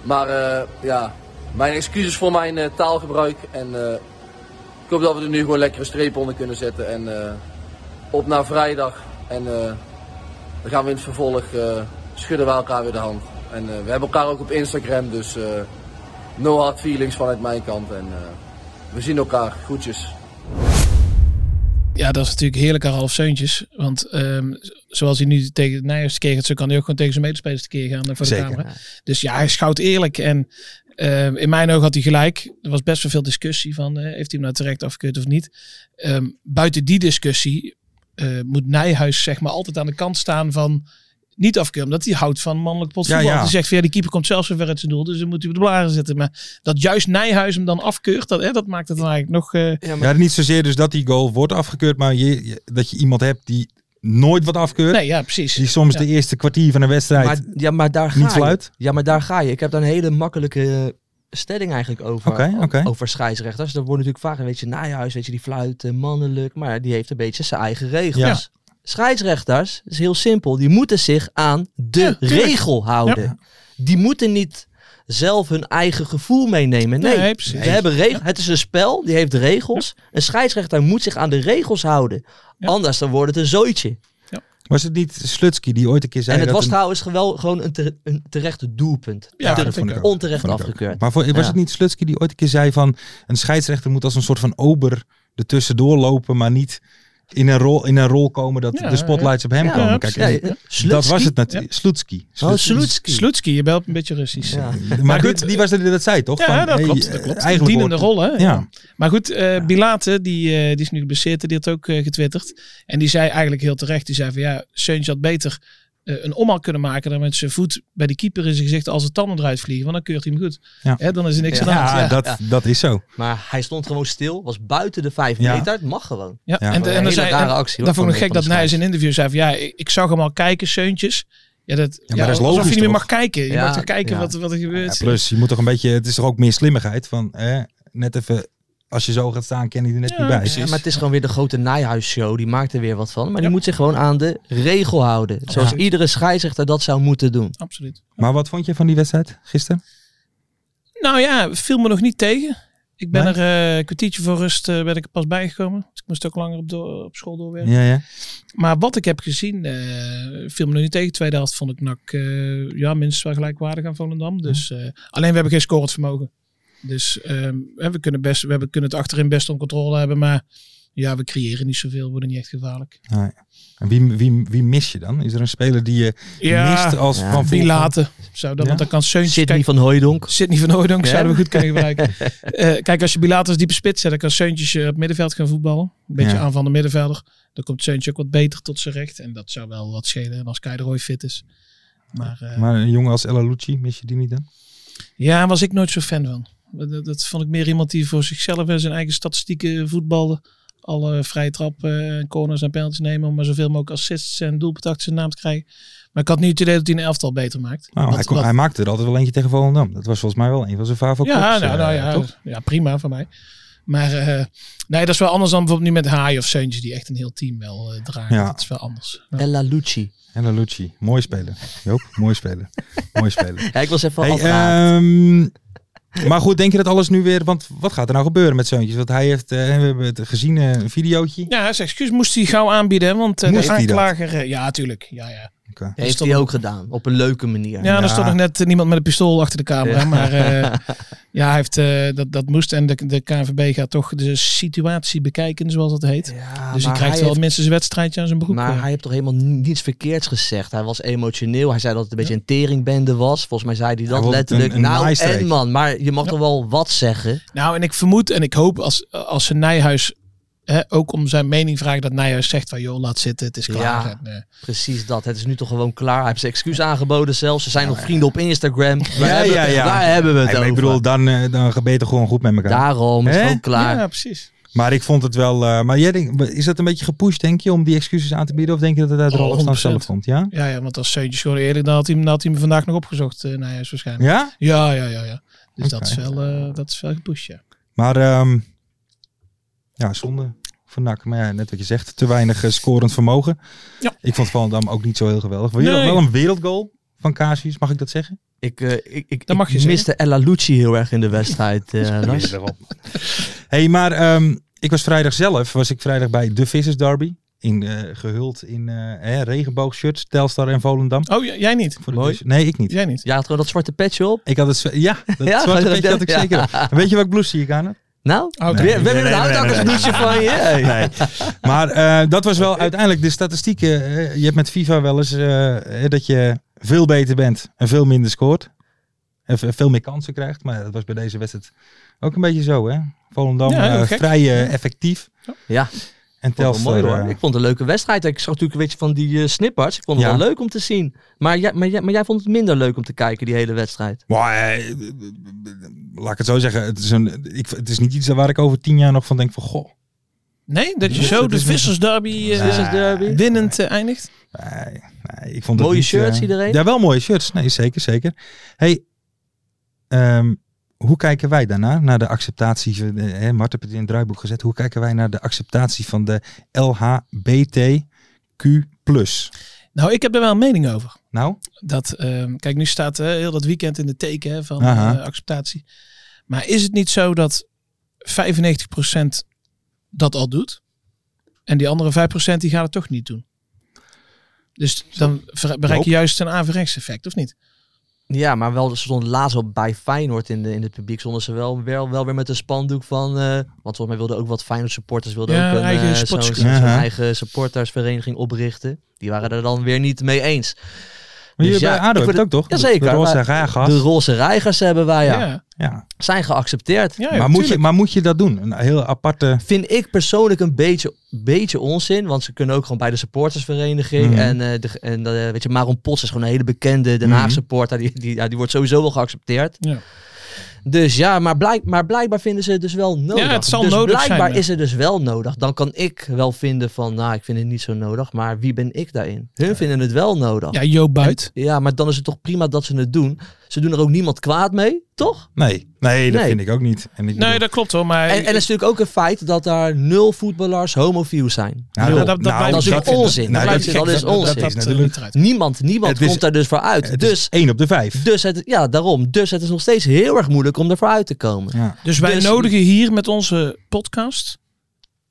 Speaker 6: Maar eh, ja, mijn excuses voor mijn eh, taalgebruik. En eh, ik hoop dat we er nu gewoon lekkere streep onder kunnen zetten. En eh, op naar vrijdag. En eh, dan gaan we in het vervolg eh, schudden we elkaar weer de hand. En eh, we hebben elkaar ook op Instagram. Dus eh, no hard feelings vanuit mijn kant. En eh, we zien elkaar. Groetjes.
Speaker 4: Ja, dat is natuurlijk heerlijk aan Ralf Seuntjes. Want ehm, z- zoals hij nu tegen de Nijers tekeer gaat, zo kan hij ook gewoon tegen zijn medespelers tekeer gaan eh, voor de
Speaker 3: Zeker.
Speaker 4: camera. Dus ja, hij schouwt eerlijk. En ehm, in mijn ogen had hij gelijk. Er was best wel veel discussie van, eh, heeft hij hem nou terecht afgekeurd of niet. Ehm, buiten die discussie eh, moet Nijhuis zeg maar altijd aan de kant staan van niet afkeuren. Omdat hij houdt van mannelijk potvoetbal.
Speaker 3: Ja, ja.
Speaker 4: Die zegt van ja, die keeper komt zelfs zo ver uit zijn doel. Dus dan moet hij op de blaren zitten. Maar dat juist Nijhuis hem dan afkeurt, dat, hè, dat maakt het dan eigenlijk nog... eh,
Speaker 3: Ja, niet zozeer dus dat die goal wordt afgekeurd. Maar je, je- dat je iemand hebt die nooit wat afkeurt.
Speaker 4: nee, ja, precies.
Speaker 3: Die soms
Speaker 4: Ja.
Speaker 3: de eerste kwartier van een wedstrijd...
Speaker 5: Maar, ja, maar daar ga
Speaker 3: Niet
Speaker 5: je.
Speaker 3: fluit?
Speaker 5: Ja, maar daar ga je. Ik heb daar een hele makkelijke eh, stelling eigenlijk over.
Speaker 3: Oké, oké.
Speaker 5: Over scheidsrechters. Dat wordt natuurlijk vaak een beetje naaihuis, weet je, die fluiten, mannelijk. Maar die heeft een beetje zijn eigen regels. Scheidsrechters, dat is heel simpel, die moeten zich aan de
Speaker 4: Ja, tuurlijk.
Speaker 5: regel houden. Die moeten niet zelf hun eigen gevoel meenemen. Nee,
Speaker 4: Nee, precies.
Speaker 5: we hebben regels. Het is een spel, die heeft regels. Een scheidsrechter moet zich aan de regels houden.
Speaker 4: Ja.
Speaker 5: Anders dan wordt het een zooitje.
Speaker 3: Was het niet Slutsky die ooit een keer zei...
Speaker 5: En het
Speaker 3: dat
Speaker 5: was
Speaker 3: een-
Speaker 5: trouwens gewel- gewoon een, tere- een terechte doelpunt.
Speaker 4: Ja,
Speaker 5: Ter-
Speaker 4: dat vond ik ook.
Speaker 5: onterecht
Speaker 3: Vond ik ook.
Speaker 5: afgekeurd.
Speaker 3: Maar voor, was
Speaker 5: Ja.
Speaker 3: het niet Slutsky die ooit een keer zei van... Een scheidsrechter moet als een soort van ober ertussendoor lopen... maar niet in een rol, in een rol komen dat
Speaker 4: Ja,
Speaker 3: de spotlights op hem
Speaker 5: Ja,
Speaker 3: komen.
Speaker 4: ja,
Speaker 3: Kijk,
Speaker 5: Ja,
Speaker 3: en-
Speaker 5: eh,
Speaker 3: dat
Speaker 5: Slutsky?
Speaker 3: was het natuurlijk. Slutsky.
Speaker 5: Oh,
Speaker 3: Slutsky.
Speaker 5: Slutski.
Speaker 4: Dus Slutski, je belt een beetje Russisch.
Speaker 5: Ja.
Speaker 3: Maar
Speaker 4: Maar
Speaker 3: goed,
Speaker 4: goed,
Speaker 3: die was er die dat zei, toch?
Speaker 4: Ja,
Speaker 3: Van,
Speaker 4: dat
Speaker 3: hey,
Speaker 4: klopt.
Speaker 3: eh,
Speaker 4: Dat klopt.
Speaker 3: Eigenlijk
Speaker 4: Dienende
Speaker 3: wordt-
Speaker 4: rol, hè?
Speaker 3: Ja.
Speaker 4: Maar goed, eh, Bilate, die, eh, die is nu geblesseerd, die had ook eh, getwitterd. En die zei eigenlijk heel terecht, die zei van ja, Seuntje had beter eh, een omhaal kunnen maken dan met zijn voet bij de keeper in zijn gezicht als de tanden eruit vliegen, want dan keurt hij hem goed.
Speaker 3: Ja.
Speaker 4: Hè, dan is er niks
Speaker 5: Ja.
Speaker 4: aan de hand.
Speaker 3: Ja,
Speaker 4: Ja.
Speaker 3: dat, dat is zo.
Speaker 5: Maar hij stond gewoon stil, was buiten de vijf
Speaker 3: Ja.
Speaker 5: meter. Het mag gewoon.
Speaker 4: Ja,
Speaker 3: Ja.
Speaker 4: En,
Speaker 5: Een
Speaker 4: en
Speaker 5: hele
Speaker 4: dan zei,
Speaker 5: rare
Speaker 4: en
Speaker 5: actie, hoor,
Speaker 4: dan vond ik
Speaker 5: van-
Speaker 4: gek
Speaker 5: van
Speaker 4: dat
Speaker 5: de
Speaker 4: Nijs in een interview zei van ja, ik, ik zag hem al kijken, Seuntjes. Ja, dat, ja,
Speaker 3: maar dat is
Speaker 4: alsof
Speaker 3: logisch,
Speaker 4: je niet meer
Speaker 3: toch?
Speaker 4: mag kijken. Je
Speaker 5: Ja,
Speaker 4: mag toch kijken
Speaker 5: ja.
Speaker 4: wat, wat er
Speaker 3: Ja,
Speaker 4: gebeurt.
Speaker 3: plus, je moet toch een beetje... Het is toch ook meer slimmigheid van... Hè, net even, als je zo gaat staan, ken ik er net
Speaker 4: Ja,
Speaker 3: niet bij.
Speaker 4: precies.
Speaker 5: Ja, maar het is gewoon weer de grote Nijhuis-show. Die maakt er weer wat van. Maar die
Speaker 4: Ja.
Speaker 5: moet zich gewoon aan de regel houden. Zoals
Speaker 4: Ja.
Speaker 5: iedere scheidsrechter dat zou moeten doen.
Speaker 4: Absoluut.
Speaker 3: Maar wat vond je van die wedstrijd gisteren?
Speaker 4: Nou ja, viel me nog niet tegen. Ik ben
Speaker 3: Nee?
Speaker 4: er eh, een kwartiertje voor rust eh, ben ik er pas bijgekomen. Dus ik moest ook langer op, door, op school doorwerken.
Speaker 3: Ja, ja.
Speaker 4: Maar wat ik heb gezien, eh viel me nog niet tegen. Tweede helft vond ik NAC eh, ja, minstens wel gelijkwaardig aan Volendam. Dus, eh, alleen we hebben geen scorend vermogen. Dus ehm, hè, we, kunnen best, we hebben, kunnen het achterin best onder controle hebben. Maar ja, we creëren niet zoveel. We worden niet echt gevaarlijk.
Speaker 3: En wie, wie, wie mis je dan? Is er een speler die je mist als
Speaker 5: Ja.
Speaker 3: van
Speaker 4: die
Speaker 3: Volendam?
Speaker 4: laten. Zou dat,
Speaker 3: Ja?
Speaker 4: Want dan kan Seuntje...
Speaker 5: Sidney
Speaker 4: Kijk,
Speaker 5: van Hooijdonk.
Speaker 4: Sidney van Hooydonk
Speaker 5: Ja?
Speaker 4: zouden we goed kunnen gebruiken. Eh, kijk, als je Bilater als diepe spits zet, dan kan Seuntjes eh, op middenveld gaan voetballen. Een beetje
Speaker 3: Ja.
Speaker 4: aan van de middenvelder. Dan komt Seuntje ook wat beter tot zijn recht. En dat zou wel wat schelen. En als Kai de Roy fit is. Maar, eh,
Speaker 3: Maar een jongen als Ella Lucci, mis je die niet dan?
Speaker 4: Ja, daar was ik nooit zo fan van. Dat, dat vond ik meer iemand die voor zichzelf en zijn eigen statistieken voetbalde. Alle vrije trappen, eh, corners en penalties nemen. Om maar zoveel mogelijk assists en doelpunten achter zijn naam te krijgen. Maar ik had niet het idee dat hij een elftal beter maakt.
Speaker 3: Nou,
Speaker 4: Wat-
Speaker 3: hij, kon-
Speaker 4: wat-
Speaker 3: hij maakte er altijd wel eentje tegen Volendam. Dat was volgens mij wel een van zijn favorieten.
Speaker 4: ja, nou,
Speaker 5: eh,
Speaker 4: nou ja, ja, prima voor mij. Maar eh, nee, dat is wel anders dan bijvoorbeeld nu met Haai of Seuntje. Die echt een heel team wel eh, dragen.
Speaker 3: Ja.
Speaker 4: Dat is wel anders. Ja.
Speaker 5: Ella Lucci.
Speaker 3: Ella Lucci, mooi speler. Joop, mooi speler. mooi speler.
Speaker 5: Ja, ik was even
Speaker 3: Hey,
Speaker 5: afgehaakt.
Speaker 3: ehm, maar goed, denk je dat alles nu weer... Want wat gaat er nou gebeuren met Zeuntjes? Want hij heeft, eh, we hebben het gezien, eh, een videootje.
Speaker 4: Ja, zijn excuus moest hij gauw aanbieden. hè, Want eh,
Speaker 3: Moest
Speaker 4: de
Speaker 3: hij dat?
Speaker 4: aanklager... eh, ja, tuurlijk. Ja, ja.
Speaker 3: Oké.
Speaker 5: Heeft
Speaker 4: stond
Speaker 5: hij
Speaker 4: er-
Speaker 5: ook gedaan. Op een leuke manier.
Speaker 4: Ja,
Speaker 3: Ja.
Speaker 4: er stond nog net eh, niemand met een pistool achter de camera.
Speaker 5: Ja.
Speaker 4: Maar eh, ja, hij heeft, eh, dat, dat moest. En de, de KNVB gaat toch de situatie bekijken, zoals dat heet.
Speaker 5: Ja, maar
Speaker 4: dus hij krijgt
Speaker 5: hij
Speaker 4: wel
Speaker 5: heeft-
Speaker 4: minstens een wedstrijdje aan zijn broek.
Speaker 5: Maar
Speaker 4: eh.
Speaker 5: hij heeft toch helemaal ni- niets verkeerds gezegd. Hij was emotioneel. Hij zei dat het een beetje een teringbende was. Volgens mij zei hij dat
Speaker 3: wilde
Speaker 5: letterlijk.
Speaker 3: een- een
Speaker 5: nou,
Speaker 3: naaistreek.
Speaker 5: en man. Maar je mag toch wel wat zeggen.
Speaker 4: Nou, en ik vermoed en ik hoop als, als ze Nijhuis hè, ook om zijn mening vraagt, dat Nijhuis zegt van joh, laat zitten, het is klaar.
Speaker 5: Ja.
Speaker 4: En, eh,
Speaker 5: Precies dat. Het is nu toch gewoon klaar. Hij heeft zijn excuus aangeboden zelfs. Ze zijn nog vrienden op Instagram.
Speaker 3: Ja,
Speaker 5: Waar, hebben,
Speaker 3: ja, ja.
Speaker 5: waar hebben we het
Speaker 3: Hey, maar
Speaker 5: over?
Speaker 3: ik bedoel, dan, eh, dan gebeten gewoon goed met elkaar.
Speaker 5: Daarom is
Speaker 3: Hè?
Speaker 5: het ook klaar.
Speaker 4: ja, precies.
Speaker 3: Maar ik vond het wel... eh, maar jij denkt, is dat een beetje gepusht, denk je, om die excuses aan te bieden? Of denk je dat het uit de
Speaker 4: Oh,
Speaker 3: Rolf
Speaker 4: 100%.
Speaker 3: zelf komt? Ja?
Speaker 4: Ja, ja, want als Seuntjes gewoon eerlijk, dan had hij, hem- dan had hij hem vandaag nog opgezocht, eh Nijhuis waarschijnlijk.
Speaker 3: Ja?
Speaker 4: Ja, ja, ja, ja. Dus dat,
Speaker 3: Oké.
Speaker 4: is wel, eh, dat is wel gepusht, ja.
Speaker 3: Maar ehm, ja, zonde van NAC. Maar ja, net wat je zegt, te weinig eh, scorend vermogen.
Speaker 4: Ja.
Speaker 3: Ik vond Volendam ook niet zo heel geweldig. Wel,
Speaker 4: Nee.
Speaker 3: wel een wereldgoal van Casius, mag ik dat zeggen?
Speaker 5: Ik, eh, ik, ik,
Speaker 4: Dat mag
Speaker 5: ik
Speaker 4: je zeggen.
Speaker 5: miste Ella Lucci heel erg in de wedstrijd. eh, Lars.
Speaker 3: hey, maar ehm, ik was vrijdag zelf, was ik vrijdag bij de Vissers Derby. In, eh, gehuld in eh, hè, regenboogshirts, Telstar en Volendam.
Speaker 4: Oh, j- jij niet?
Speaker 3: Voor de
Speaker 5: Mooi.
Speaker 3: Vissers. Nee, ik niet.
Speaker 4: Jij niet?
Speaker 5: ja, had gewoon dat zwarte petje op.
Speaker 3: Ik had het, zwa- ja, dat
Speaker 5: Ja,
Speaker 3: zwarte
Speaker 5: dat-
Speaker 3: petje had ik
Speaker 5: ja.
Speaker 3: zeker. op. Weet je welk blouse zie ik aan heb?
Speaker 5: Nou,
Speaker 4: Oh, Oké.
Speaker 5: we, we hebben een houtakkersbloesje van je. Hey.
Speaker 3: Nee. Maar eh, dat was wel uiteindelijk de statistieken. eh, je hebt met FIFA wel eens eh, eh, dat je veel beter bent en veel minder scoort. En ve- veel meer kansen krijgt. Maar dat was bij deze wedstrijd ook een beetje zo. Hè? Volendam
Speaker 4: Ja, heel
Speaker 3: eh,
Speaker 4: gek.
Speaker 3: vrij eh, effectief.
Speaker 5: Ja.
Speaker 3: En
Speaker 5: Ik vond het wel
Speaker 3: Telstar.
Speaker 5: mooi hoor.
Speaker 3: eh,
Speaker 5: Ik vond het een leuke wedstrijd. Ik zag natuurlijk een beetje van die eh, snipparts. Ik vond het
Speaker 3: Ja.
Speaker 5: wel leuk om te zien. Maar jij, maar, jij, maar jij vond het minder leuk om te kijken, die hele wedstrijd.
Speaker 3: maar, eh, laat ik het zo zeggen. Het is, een, ik, het is niet iets waar ik over tien jaar nog van denk van... Goh,
Speaker 4: Nee, dat je
Speaker 3: Dus
Speaker 4: zo
Speaker 3: het
Speaker 4: de
Speaker 3: is
Speaker 4: vissersderby eh,
Speaker 5: Vissers derby.
Speaker 4: winnend eh, eindigt.
Speaker 3: Nee, nee, ik vond het
Speaker 5: Mooie
Speaker 3: niet,
Speaker 5: shirts,
Speaker 3: eh,
Speaker 5: iedereen?
Speaker 3: Ja, wel mooie shirts. Nee, zeker, zeker. Hey, ehm, hoe kijken wij daarna? Naar de acceptatie, van de- hè, Mart heb het in het draaiboek gezet. Hoe kijken wij naar de acceptatie van de LHBTQ+.
Speaker 4: Nou, ik heb daar wel een mening over.
Speaker 3: Nou,
Speaker 4: Dat, ehm, kijk, nu staat eh, heel dat weekend in de teken hè, van
Speaker 3: Aha.
Speaker 4: eh, acceptatie. Maar is het niet zo dat 95% dat al doet? En die andere 5% die gaat het toch niet doen? Dus dan ver- bereik je
Speaker 3: Joop?
Speaker 4: juist een averechts effect, of niet?
Speaker 5: Ja, maar wel, ze stonden laatst al bij Feyenoord in, de, in het publiek. Stonden ze wel, wel, wel weer met een spandoek van... eh, want volgens mij wilden ook wat Feyenoord supporters... Wilden
Speaker 4: Ja,
Speaker 5: ook een
Speaker 4: eigen
Speaker 5: eh, zo'n
Speaker 4: sports-
Speaker 5: zo'n
Speaker 3: Ja.
Speaker 5: eigen supportersvereniging oprichten. Die waren er dan weer niet mee eens.
Speaker 3: maar
Speaker 5: Dus
Speaker 3: jullie
Speaker 5: ja,
Speaker 3: bij ADO
Speaker 5: ik
Speaker 3: hebben
Speaker 5: word-
Speaker 3: het ook toch? De-
Speaker 5: Jazeker.
Speaker 3: De roze
Speaker 5: maar
Speaker 3: raaggas.
Speaker 5: De roze reigers hebben wij, ja.
Speaker 3: Ja.
Speaker 5: Zijn geaccepteerd.
Speaker 4: ja,
Speaker 3: maar, moet je, maar moet je dat doen? Een heel aparte...
Speaker 5: Vind ik persoonlijk een beetje, beetje onzin. Want ze kunnen ook gewoon bij de supportersvereniging.
Speaker 3: Mhm.
Speaker 5: En, eh, de, en eh, weet je, Maron Potts is gewoon een hele bekende Den Haag
Speaker 3: Mhm.
Speaker 5: supporter. Die, die, ja, die wordt sowieso wel geaccepteerd.
Speaker 4: Ja.
Speaker 5: Dus ja, maar, blijk, maar blijkbaar vinden ze het dus wel nodig.
Speaker 4: het zal
Speaker 5: dus
Speaker 4: nodig zijn,
Speaker 5: blijkbaar
Speaker 4: ja.
Speaker 5: is het dus wel nodig. Dan kan ik wel vinden van, nou, ik vind het niet zo nodig. Maar
Speaker 3: Oh.
Speaker 5: wie ben ik daarin? Hun vinden het wel nodig.
Speaker 4: Ja, Joop Buit.
Speaker 5: Ja, maar dan is het toch prima dat ze het doen. Ze doen er ook niemand kwaad mee, toch?
Speaker 3: Nee, nee, dat
Speaker 5: Nee.
Speaker 3: vind ik ook niet. En ik bedoel-
Speaker 4: Nee, dat klopt hoor. Maar
Speaker 5: En, en het is natuurlijk ook een feit dat daar nul voetballers homofiel zijn.
Speaker 3: Nou,
Speaker 4: Ja,
Speaker 5: Nul.
Speaker 4: dat- dat blijft
Speaker 5: dat is
Speaker 4: natuurlijk
Speaker 3: vind-
Speaker 5: onzin.
Speaker 3: nou,
Speaker 5: Dat
Speaker 3: dat,
Speaker 5: blijft- dat is onzin.
Speaker 3: Dat is natuurlijk.
Speaker 5: Niemand, niemand
Speaker 3: Het is-
Speaker 5: komt daar dus voor uit.
Speaker 3: Het is
Speaker 5: Dus,
Speaker 3: één op de vijf.
Speaker 5: dus, het, ja, daarom. dus het is nog steeds heel erg moeilijk om daarvoor uit te komen.
Speaker 3: Ja.
Speaker 4: Dus wij
Speaker 5: Dus-
Speaker 4: nodigen hier met onze podcast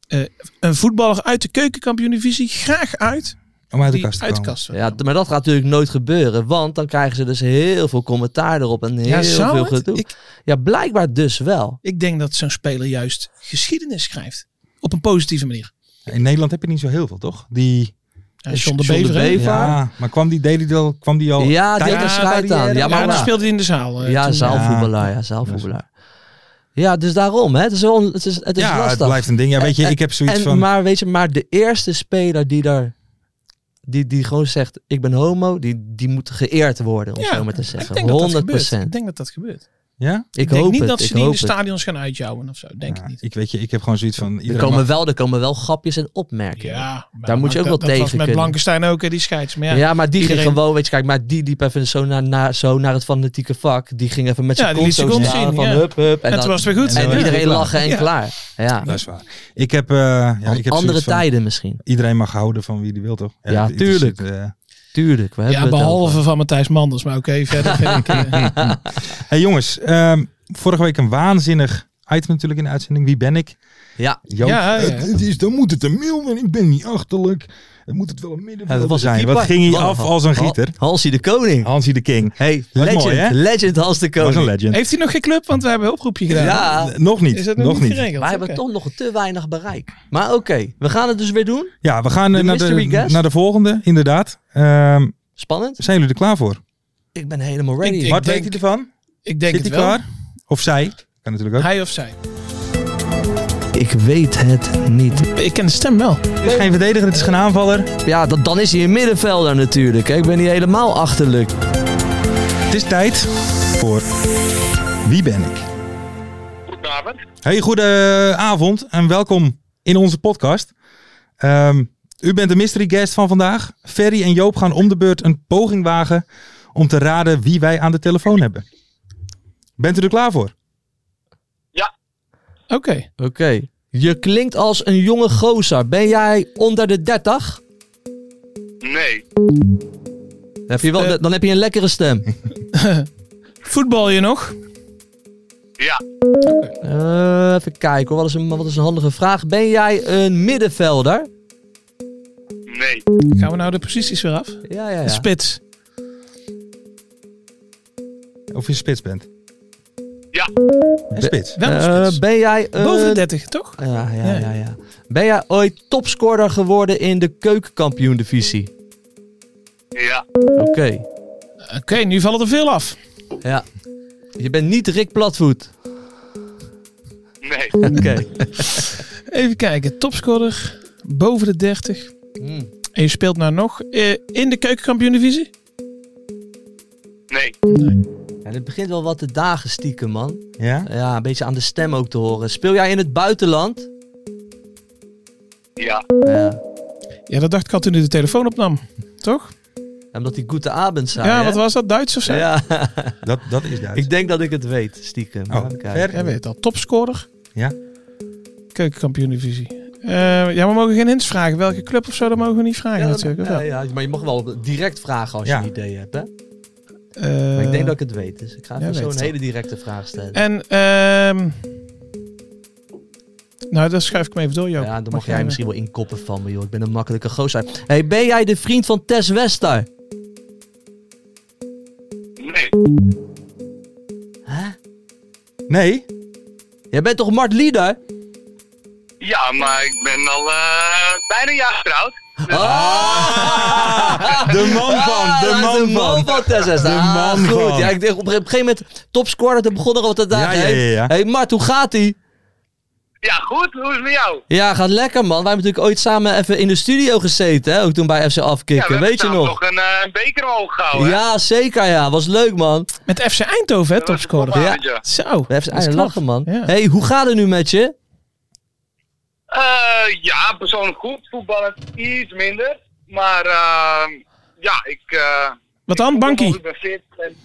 Speaker 4: eh, een voetballer uit de keukenkampioen-divisie graag uit.
Speaker 3: Om uit de
Speaker 4: Die
Speaker 3: kast te
Speaker 4: uit de
Speaker 3: komen.
Speaker 4: kast wil
Speaker 5: Ja,
Speaker 4: komen.
Speaker 5: maar dat gaat natuurlijk nooit gebeuren, want dan krijgen ze dus heel veel commentaar erop en heel
Speaker 4: Ja, zou
Speaker 5: veel
Speaker 4: het?
Speaker 5: gedoe.
Speaker 4: Ik-
Speaker 5: Ja, blijkbaar dus wel.
Speaker 4: Ik denk dat zo'n speler juist geschiedenis schrijft. Op een positieve manier.
Speaker 3: In Nederland heb je niet zo heel veel, toch? Die,
Speaker 4: Ja,
Speaker 5: Dus
Speaker 4: John de
Speaker 5: John de
Speaker 4: Bever. hè?
Speaker 5: Bever. Eva?
Speaker 3: ja, maar kwam die, deed die al, kwam die al
Speaker 5: Ja, die
Speaker 3: tijdens
Speaker 5: had een
Speaker 3: de
Speaker 5: schijt aan.
Speaker 3: carrière?
Speaker 5: Ja, maar
Speaker 4: Ja, dat
Speaker 5: nou,
Speaker 4: speelde hij in de zaal. eh,
Speaker 5: ja,
Speaker 4: toen.
Speaker 5: zaalvoetballaar. Ja, zaalvoetballaar. Ja, dus daarom. Hè. Het is, wel, het is, het is
Speaker 3: ja,
Speaker 5: lastig.
Speaker 3: het blijft een ding. Ja, weet je,
Speaker 5: En-
Speaker 3: ik heb zoiets
Speaker 5: en,
Speaker 3: van...
Speaker 5: Maar weet je, maar de eerste speler die daar... Die, die gewoon zegt, ik ben homo, die, die moet geëerd worden, om
Speaker 4: Ja,
Speaker 5: zo maar te
Speaker 4: Ik
Speaker 5: zeggen.
Speaker 4: denk dat dat
Speaker 5: 100
Speaker 4: gebeurt. Ik denk dat dat gebeurt.
Speaker 3: ja?
Speaker 5: Ik,
Speaker 4: Ik denk
Speaker 5: hoop
Speaker 4: niet
Speaker 5: het,
Speaker 4: dat
Speaker 5: ik
Speaker 4: ze die in
Speaker 5: hoop
Speaker 4: de
Speaker 5: het.
Speaker 4: stadions gaan uitjouwen of zo. Denk
Speaker 3: Ja,
Speaker 4: ik niet.
Speaker 3: ik weet je, ik heb gewoon zoiets van...
Speaker 5: Er
Speaker 3: iedere
Speaker 5: komen,
Speaker 3: man-
Speaker 5: wel, er komen wel grapjes en opmerkingen.
Speaker 4: Ja, maar
Speaker 5: Daar moet je ook wel
Speaker 4: dat, dat
Speaker 5: tegen
Speaker 4: was met
Speaker 5: kunnen.
Speaker 4: Blankenstein ook, hè, die scheids. Maar ja,
Speaker 5: Ja, maar die ging
Speaker 4: iedereen-
Speaker 5: gewoon, weet je, kijk, maar die liep even zo naar, naar, zo naar het fanatieke vak. Die ging even met
Speaker 4: Ja,
Speaker 5: zijn
Speaker 4: die liet
Speaker 5: kont
Speaker 4: zijn
Speaker 5: zo
Speaker 4: kont
Speaker 5: staan
Speaker 4: zien,
Speaker 5: van
Speaker 4: ja.
Speaker 5: hup, hup.
Speaker 4: en
Speaker 5: dat-
Speaker 4: toen was het weer goed.
Speaker 3: en
Speaker 5: en
Speaker 3: Ja.
Speaker 5: iedereen
Speaker 3: Ja.
Speaker 5: lachen en
Speaker 4: Ja.
Speaker 5: klaar. Ja.
Speaker 3: Dat is waar. Ik heb, eh, ja, ik heb
Speaker 5: Andere
Speaker 3: zoiets van,
Speaker 5: tijden misschien.
Speaker 3: Iedereen mag houden van wie die wil, toch?
Speaker 5: Ja,
Speaker 3: het interesseert, eh.
Speaker 5: Tuurlijk. We hebben
Speaker 4: Ja,
Speaker 5: het over.
Speaker 4: behalve van Matthijs Manders. Maar oké, verder vind ik... eh,
Speaker 3: hey jongens, ehm, vorige week een waanzinnig item natuurlijk in de uitzending. Wie ben ik?
Speaker 5: Ja,
Speaker 3: Joop.
Speaker 4: Ja, ja.
Speaker 3: Eh, het is, dan moet het een mil, maar ik ben niet achterlijk. Het moet het wel een middenvelder
Speaker 5: dat was een
Speaker 3: zijn.
Speaker 5: keeper.
Speaker 3: Wat ging hij
Speaker 5: Wat
Speaker 3: af
Speaker 5: een-
Speaker 3: als een gieter?
Speaker 5: Hansie de Koning.
Speaker 3: Hansie de King.
Speaker 5: Hey,
Speaker 3: mooi,
Speaker 5: legend.
Speaker 3: hè?
Speaker 5: legend Hans de
Speaker 3: Dat
Speaker 5: Koning.
Speaker 3: was een legend.
Speaker 4: Heeft hij nog geen club? Want we hebben een oproepje gedaan.
Speaker 5: Ja,
Speaker 3: Eh, Nog niet.
Speaker 4: Is dat
Speaker 3: nog,
Speaker 4: nog, niet
Speaker 3: niet.
Speaker 4: geregeld?
Speaker 5: wij hebben
Speaker 4: Oké.
Speaker 5: toch nog te weinig bereik. Maar oké, we gaan het dus weer doen.
Speaker 3: Ja, we gaan eh,
Speaker 5: De
Speaker 3: naar, de,
Speaker 5: mystery guest?
Speaker 3: naar de volgende, inderdaad. Ehm,
Speaker 5: Spannend.
Speaker 3: zijn jullie er klaar voor?
Speaker 5: Ik ben helemaal ready.
Speaker 4: Ik-
Speaker 3: Wat weet
Speaker 4: denk-
Speaker 3: hij ervan?
Speaker 4: Ik denk
Speaker 3: Zit
Speaker 4: het
Speaker 3: hij
Speaker 4: wel.
Speaker 3: klaar? Of zij? Kan natuurlijk ook.
Speaker 4: Hij of zij.
Speaker 5: ik weet het niet.
Speaker 4: Ik ken de stem wel.
Speaker 3: Het is geen verdediger, het is geen aanvaller.
Speaker 5: Ja, dat, dan is hij een middenvelder natuurlijk. Hè. Ik ben niet helemaal achterlijk.
Speaker 3: Het is tijd voor Wie ben ik?
Speaker 8: Goedenavond.
Speaker 3: Hey, goedenavond en welkom in onze podcast. Ehm, u bent de mystery guest van vandaag. Ferry en Joop gaan om de beurt een poging wagen om te raden wie wij aan de telefoon hebben. Bent u er klaar voor?
Speaker 4: Oké.
Speaker 5: Oké. Je klinkt als een jonge gozer. Ben jij onder de 30?
Speaker 8: Nee,
Speaker 5: Dan heb je, wel,
Speaker 4: Eh.
Speaker 5: dan heb je een lekkere stem.
Speaker 4: Voetbal je nog?
Speaker 8: ja,
Speaker 5: Eh, even kijken hoor. Wat is, een, wat is een handige vraag? Ben jij een middenvelder?
Speaker 8: nee,
Speaker 4: Gaan we nou de posities weer af?
Speaker 5: Ja, ja,
Speaker 4: De
Speaker 5: ja.
Speaker 4: spits.
Speaker 3: Of je spits bent?
Speaker 8: Ja.
Speaker 3: En spits.
Speaker 4: Wel een
Speaker 5: Eh,
Speaker 4: spits.
Speaker 5: ben jij een...
Speaker 4: Boven de 30, toch?
Speaker 5: Ja, ja,
Speaker 4: Ja.
Speaker 5: ja, ja. Ben jij ooit topscorer geworden in de keukenkampioen-divisie?
Speaker 8: ja,
Speaker 5: Oké.
Speaker 4: Oké, nu vallen er veel af.
Speaker 5: Ja. Je bent niet Rick Platvoet.
Speaker 8: nee,
Speaker 5: Oké.
Speaker 4: Even kijken. Topscorer. Boven de 30.
Speaker 5: Hmm.
Speaker 4: En je speelt nou nog eh, in de keukenkampioen-divisie?
Speaker 8: nee,
Speaker 5: En het begint wel wat te dagen stiekem, man.
Speaker 3: Ja?
Speaker 5: Ja, een beetje aan de stem ook te horen. Speel jij in het buitenland?
Speaker 8: ja,
Speaker 5: Ja.
Speaker 4: Ja, dat dacht ik al toen hij de telefoon opnam. Toch?
Speaker 5: Omdat die Goede Abend zei,
Speaker 4: Ja,
Speaker 5: hè?
Speaker 4: wat was dat? Duits of zo?
Speaker 5: Ja,
Speaker 3: Dat, dat is duidelijk.
Speaker 5: ik denk dat ik het weet, stiekem.
Speaker 3: Oh,
Speaker 5: Even kijken.
Speaker 3: ver.
Speaker 4: Jij weet het al. Topscorer.
Speaker 3: Ja.
Speaker 4: Keukenkampioen-divisie. Eh, ja, we mogen geen hints vragen. Welke club of zo, dat mogen we niet vragen
Speaker 5: Ja, dat-
Speaker 4: natuurlijk. of
Speaker 5: ja,
Speaker 4: wel?
Speaker 5: ja, maar je mag wel direct vragen als
Speaker 3: Ja.
Speaker 5: je een idee hebt, hè? Maar
Speaker 4: Eh,
Speaker 5: ik denk dat ik het weet, dus ik ga even
Speaker 4: jij
Speaker 5: zo
Speaker 4: weet
Speaker 5: een
Speaker 4: het Eh,
Speaker 5: hele directe vraag stellen.
Speaker 4: En ehm nou, dat schuif ik me even door, Joop.
Speaker 5: ja, dan mag
Speaker 4: Mag
Speaker 5: jij
Speaker 4: jij-
Speaker 5: misschien wel inkoppen van me, joh. Ik ben een makkelijke gozer. Hey, ben jij de vriend van Tess Wester?
Speaker 8: nee,
Speaker 5: Hè?
Speaker 3: Nee?
Speaker 5: Jij bent toch Mart Lieder?
Speaker 8: ja, maar ik ben al eh, bijna een jaar getrouwd.
Speaker 3: De man
Speaker 5: Ah,
Speaker 3: van, de
Speaker 5: de
Speaker 3: man
Speaker 5: man
Speaker 3: van.
Speaker 5: van Tess Wester.
Speaker 3: De
Speaker 5: Ah,
Speaker 3: man
Speaker 5: goed.
Speaker 3: van.
Speaker 5: Ja, ik dacht op een gegeven moment topscorer, toen begon er wat te dagen.
Speaker 3: Ja, ja, ja, ja.
Speaker 5: Hey, Mart, hoe gaat ie?
Speaker 8: Ja, goed, hoe is het met jou?
Speaker 5: Ja, gaat lekker, man. Wij hebben natuurlijk ooit samen even in de studio gezeten, hè? Ook toen bij FC
Speaker 8: Ja, we
Speaker 5: Afkikken,
Speaker 8: hebben
Speaker 5: weet je
Speaker 8: samen
Speaker 5: nog?
Speaker 8: nog een eh, een beker omhoog gehouden. hè?
Speaker 5: Ja, zeker, ja. Was leuk, man.
Speaker 4: Met FC Eindhoven, hè,
Speaker 8: Dat was een
Speaker 4: topscorer.
Speaker 5: Ja.
Speaker 8: topavondje.
Speaker 4: Zo.
Speaker 5: We hebben
Speaker 4: dat is
Speaker 5: eigenlijk
Speaker 4: knap.
Speaker 5: lachen, man.
Speaker 4: Ja.
Speaker 5: hey, hoe gaat het nu met je?
Speaker 8: Eh, ja, persoonlijk goed. Voetballen iets minder. Maar eh, ja, ik... eh,
Speaker 4: Wat dan?
Speaker 8: ik eh, voel me
Speaker 4: Bankie?
Speaker 8: goed, Ik ben fit. En,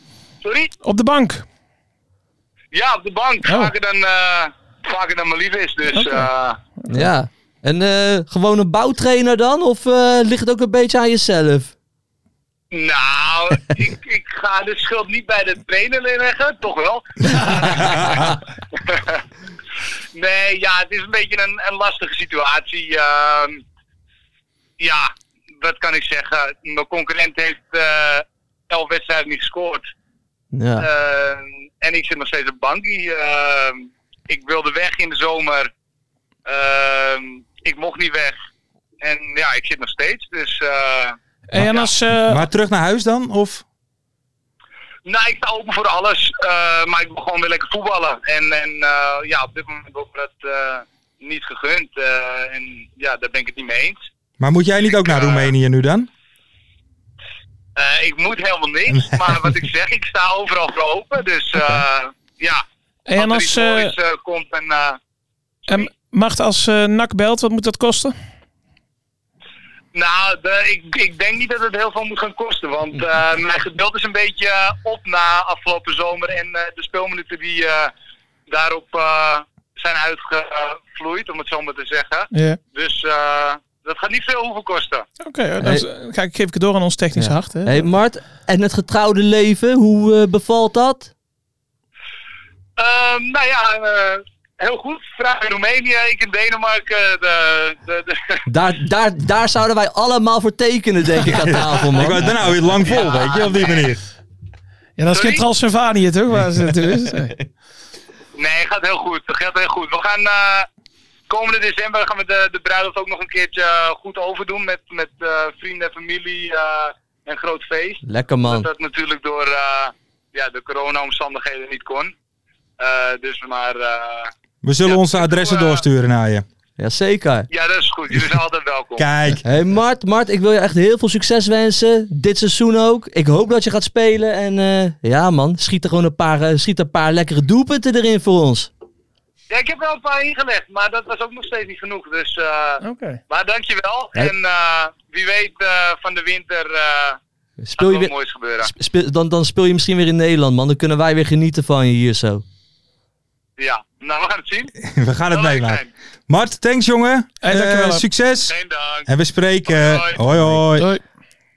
Speaker 8: Sorry?
Speaker 4: Op de bank.
Speaker 8: Ja, op de bank.
Speaker 4: Oh.
Speaker 8: Vaker dan, eh, vaker dan mijn lief is. Dus
Speaker 4: Oké.
Speaker 8: eh,
Speaker 5: Ja. En eh, gewoon een bouwtrainer dan? Of eh, ligt het ook een beetje aan jezelf?
Speaker 8: nou, ik, ik ga de schuld niet bij de trainer leggen. Toch wel. nee, ja, het is een beetje een, een lastige situatie. Ehm, ja, wat kan ik zeggen? Mijn concurrent heeft eh elf wedstrijden niet gescoord.
Speaker 5: Ja.
Speaker 8: Eh, en ik zit nog steeds op bankie. Eh, ik wilde weg in de zomer. Eh, ik mocht niet weg. En ja, ik zit nog steeds. Dus eh,
Speaker 4: Hey, en als, eh,
Speaker 3: Maar terug naar huis dan? Of?
Speaker 8: nou, ik sta open voor alles. Eh, maar ik wil gewoon weer lekker voetballen. En, en eh, ja, op dit moment wordt me dat eh, niet gegund. Eh, en ja, daar ben ik het niet mee eens.
Speaker 3: Maar moet jij niet ook naar
Speaker 8: Eh,
Speaker 3: Roemenië nu dan?
Speaker 8: Eh, ik moet helemaal niks. Maar wat ik zeg, ik sta overal voor open. Dus eh, ja,
Speaker 4: hey, en
Speaker 8: er
Speaker 4: als,
Speaker 8: iets
Speaker 4: eh,
Speaker 8: moois eh, komt en... eh,
Speaker 4: en Mart, als eh NAC belt, wat moet dat kosten?
Speaker 8: Nou, de- ik, ik denk niet dat het heel veel moet gaan kosten. Want eh, mijn geduld is een beetje eh, op na afgelopen zomer. En eh, de speelminuten die eh, daarop eh, zijn uitgevloeid, om het zo maar te zeggen.
Speaker 4: Ja.
Speaker 8: Dus eh, dat gaat niet veel hoeven kosten.
Speaker 4: Oké, dan
Speaker 5: Hey.
Speaker 4: z- ga ik, geef ik het door aan ons technisch
Speaker 5: Ja.
Speaker 4: hart.
Speaker 8: Eh,
Speaker 4: Hè?
Speaker 5: hey, Mart, en het getrouwde leven, hoe eh, bevalt dat?
Speaker 8: Ehm, nou ja, eh, heel goed. Vraag in Roemenië, ik in Denemarken. eh, De, de, de-
Speaker 5: Daar, daar, daar zouden wij allemaal voor tekenen, denk ik, aan tafel,
Speaker 3: Ik wou,
Speaker 5: man.
Speaker 3: dan hou je het lang vol, weet je, op die manier.
Speaker 4: Ja, dat is geen
Speaker 8: Sorry?
Speaker 4: Transylvanië, toch? Waar ze naartoe is. Nee.
Speaker 8: Nee, gaat heel goed. Dat gaat heel goed. We gaan eh, komende december gaan we de, de bruiloft ook nog een keertje eh, goed overdoen. Met, met eh, vrienden en familie eh, een groot feest.
Speaker 5: Lekker, man.
Speaker 8: Dat dat natuurlijk door eh, ja, de corona-omstandigheden niet kon. Eh, dus maar, eh,
Speaker 3: We zullen
Speaker 8: Ja,
Speaker 3: onze adressen
Speaker 8: ik doe, eh,
Speaker 3: doorsturen naar je.
Speaker 5: Jazeker.
Speaker 8: ja, dat is goed. Jullie zijn altijd welkom.
Speaker 3: Kijk.
Speaker 5: Hey Mart, Mart, ik wil je echt heel veel succes wensen. Dit seizoen ook. Ik hoop dat je gaat spelen. En eh, ja man, schiet er gewoon een paar, eh, schiet een paar lekkere doelpunten erin voor ons.
Speaker 8: Ja, ik heb wel een paar ingelegd, maar dat was ook nog steeds niet genoeg. Dus, eh,
Speaker 4: Oké.
Speaker 8: maar dankjewel.
Speaker 5: Hey.
Speaker 8: En eh, wie weet eh, van de winter eh
Speaker 5: Speel
Speaker 8: gaat
Speaker 5: je
Speaker 8: er wat
Speaker 5: weer,
Speaker 8: moois gebeuren.
Speaker 5: speel- dan, dan speel je misschien weer in Nederland man. Dan kunnen wij weer genieten van je hier zo.
Speaker 8: Ja, nou we gaan het zien.
Speaker 3: We gaan het
Speaker 8: Zal leuk
Speaker 3: meemaken.
Speaker 8: zijn.
Speaker 3: Mart, thanks jongen.
Speaker 4: Hey, dankjewel.
Speaker 3: Eh, succes.
Speaker 8: Geen dank.
Speaker 3: En we spreken.
Speaker 8: Hoi,
Speaker 3: Hoi hoi.
Speaker 4: Doei.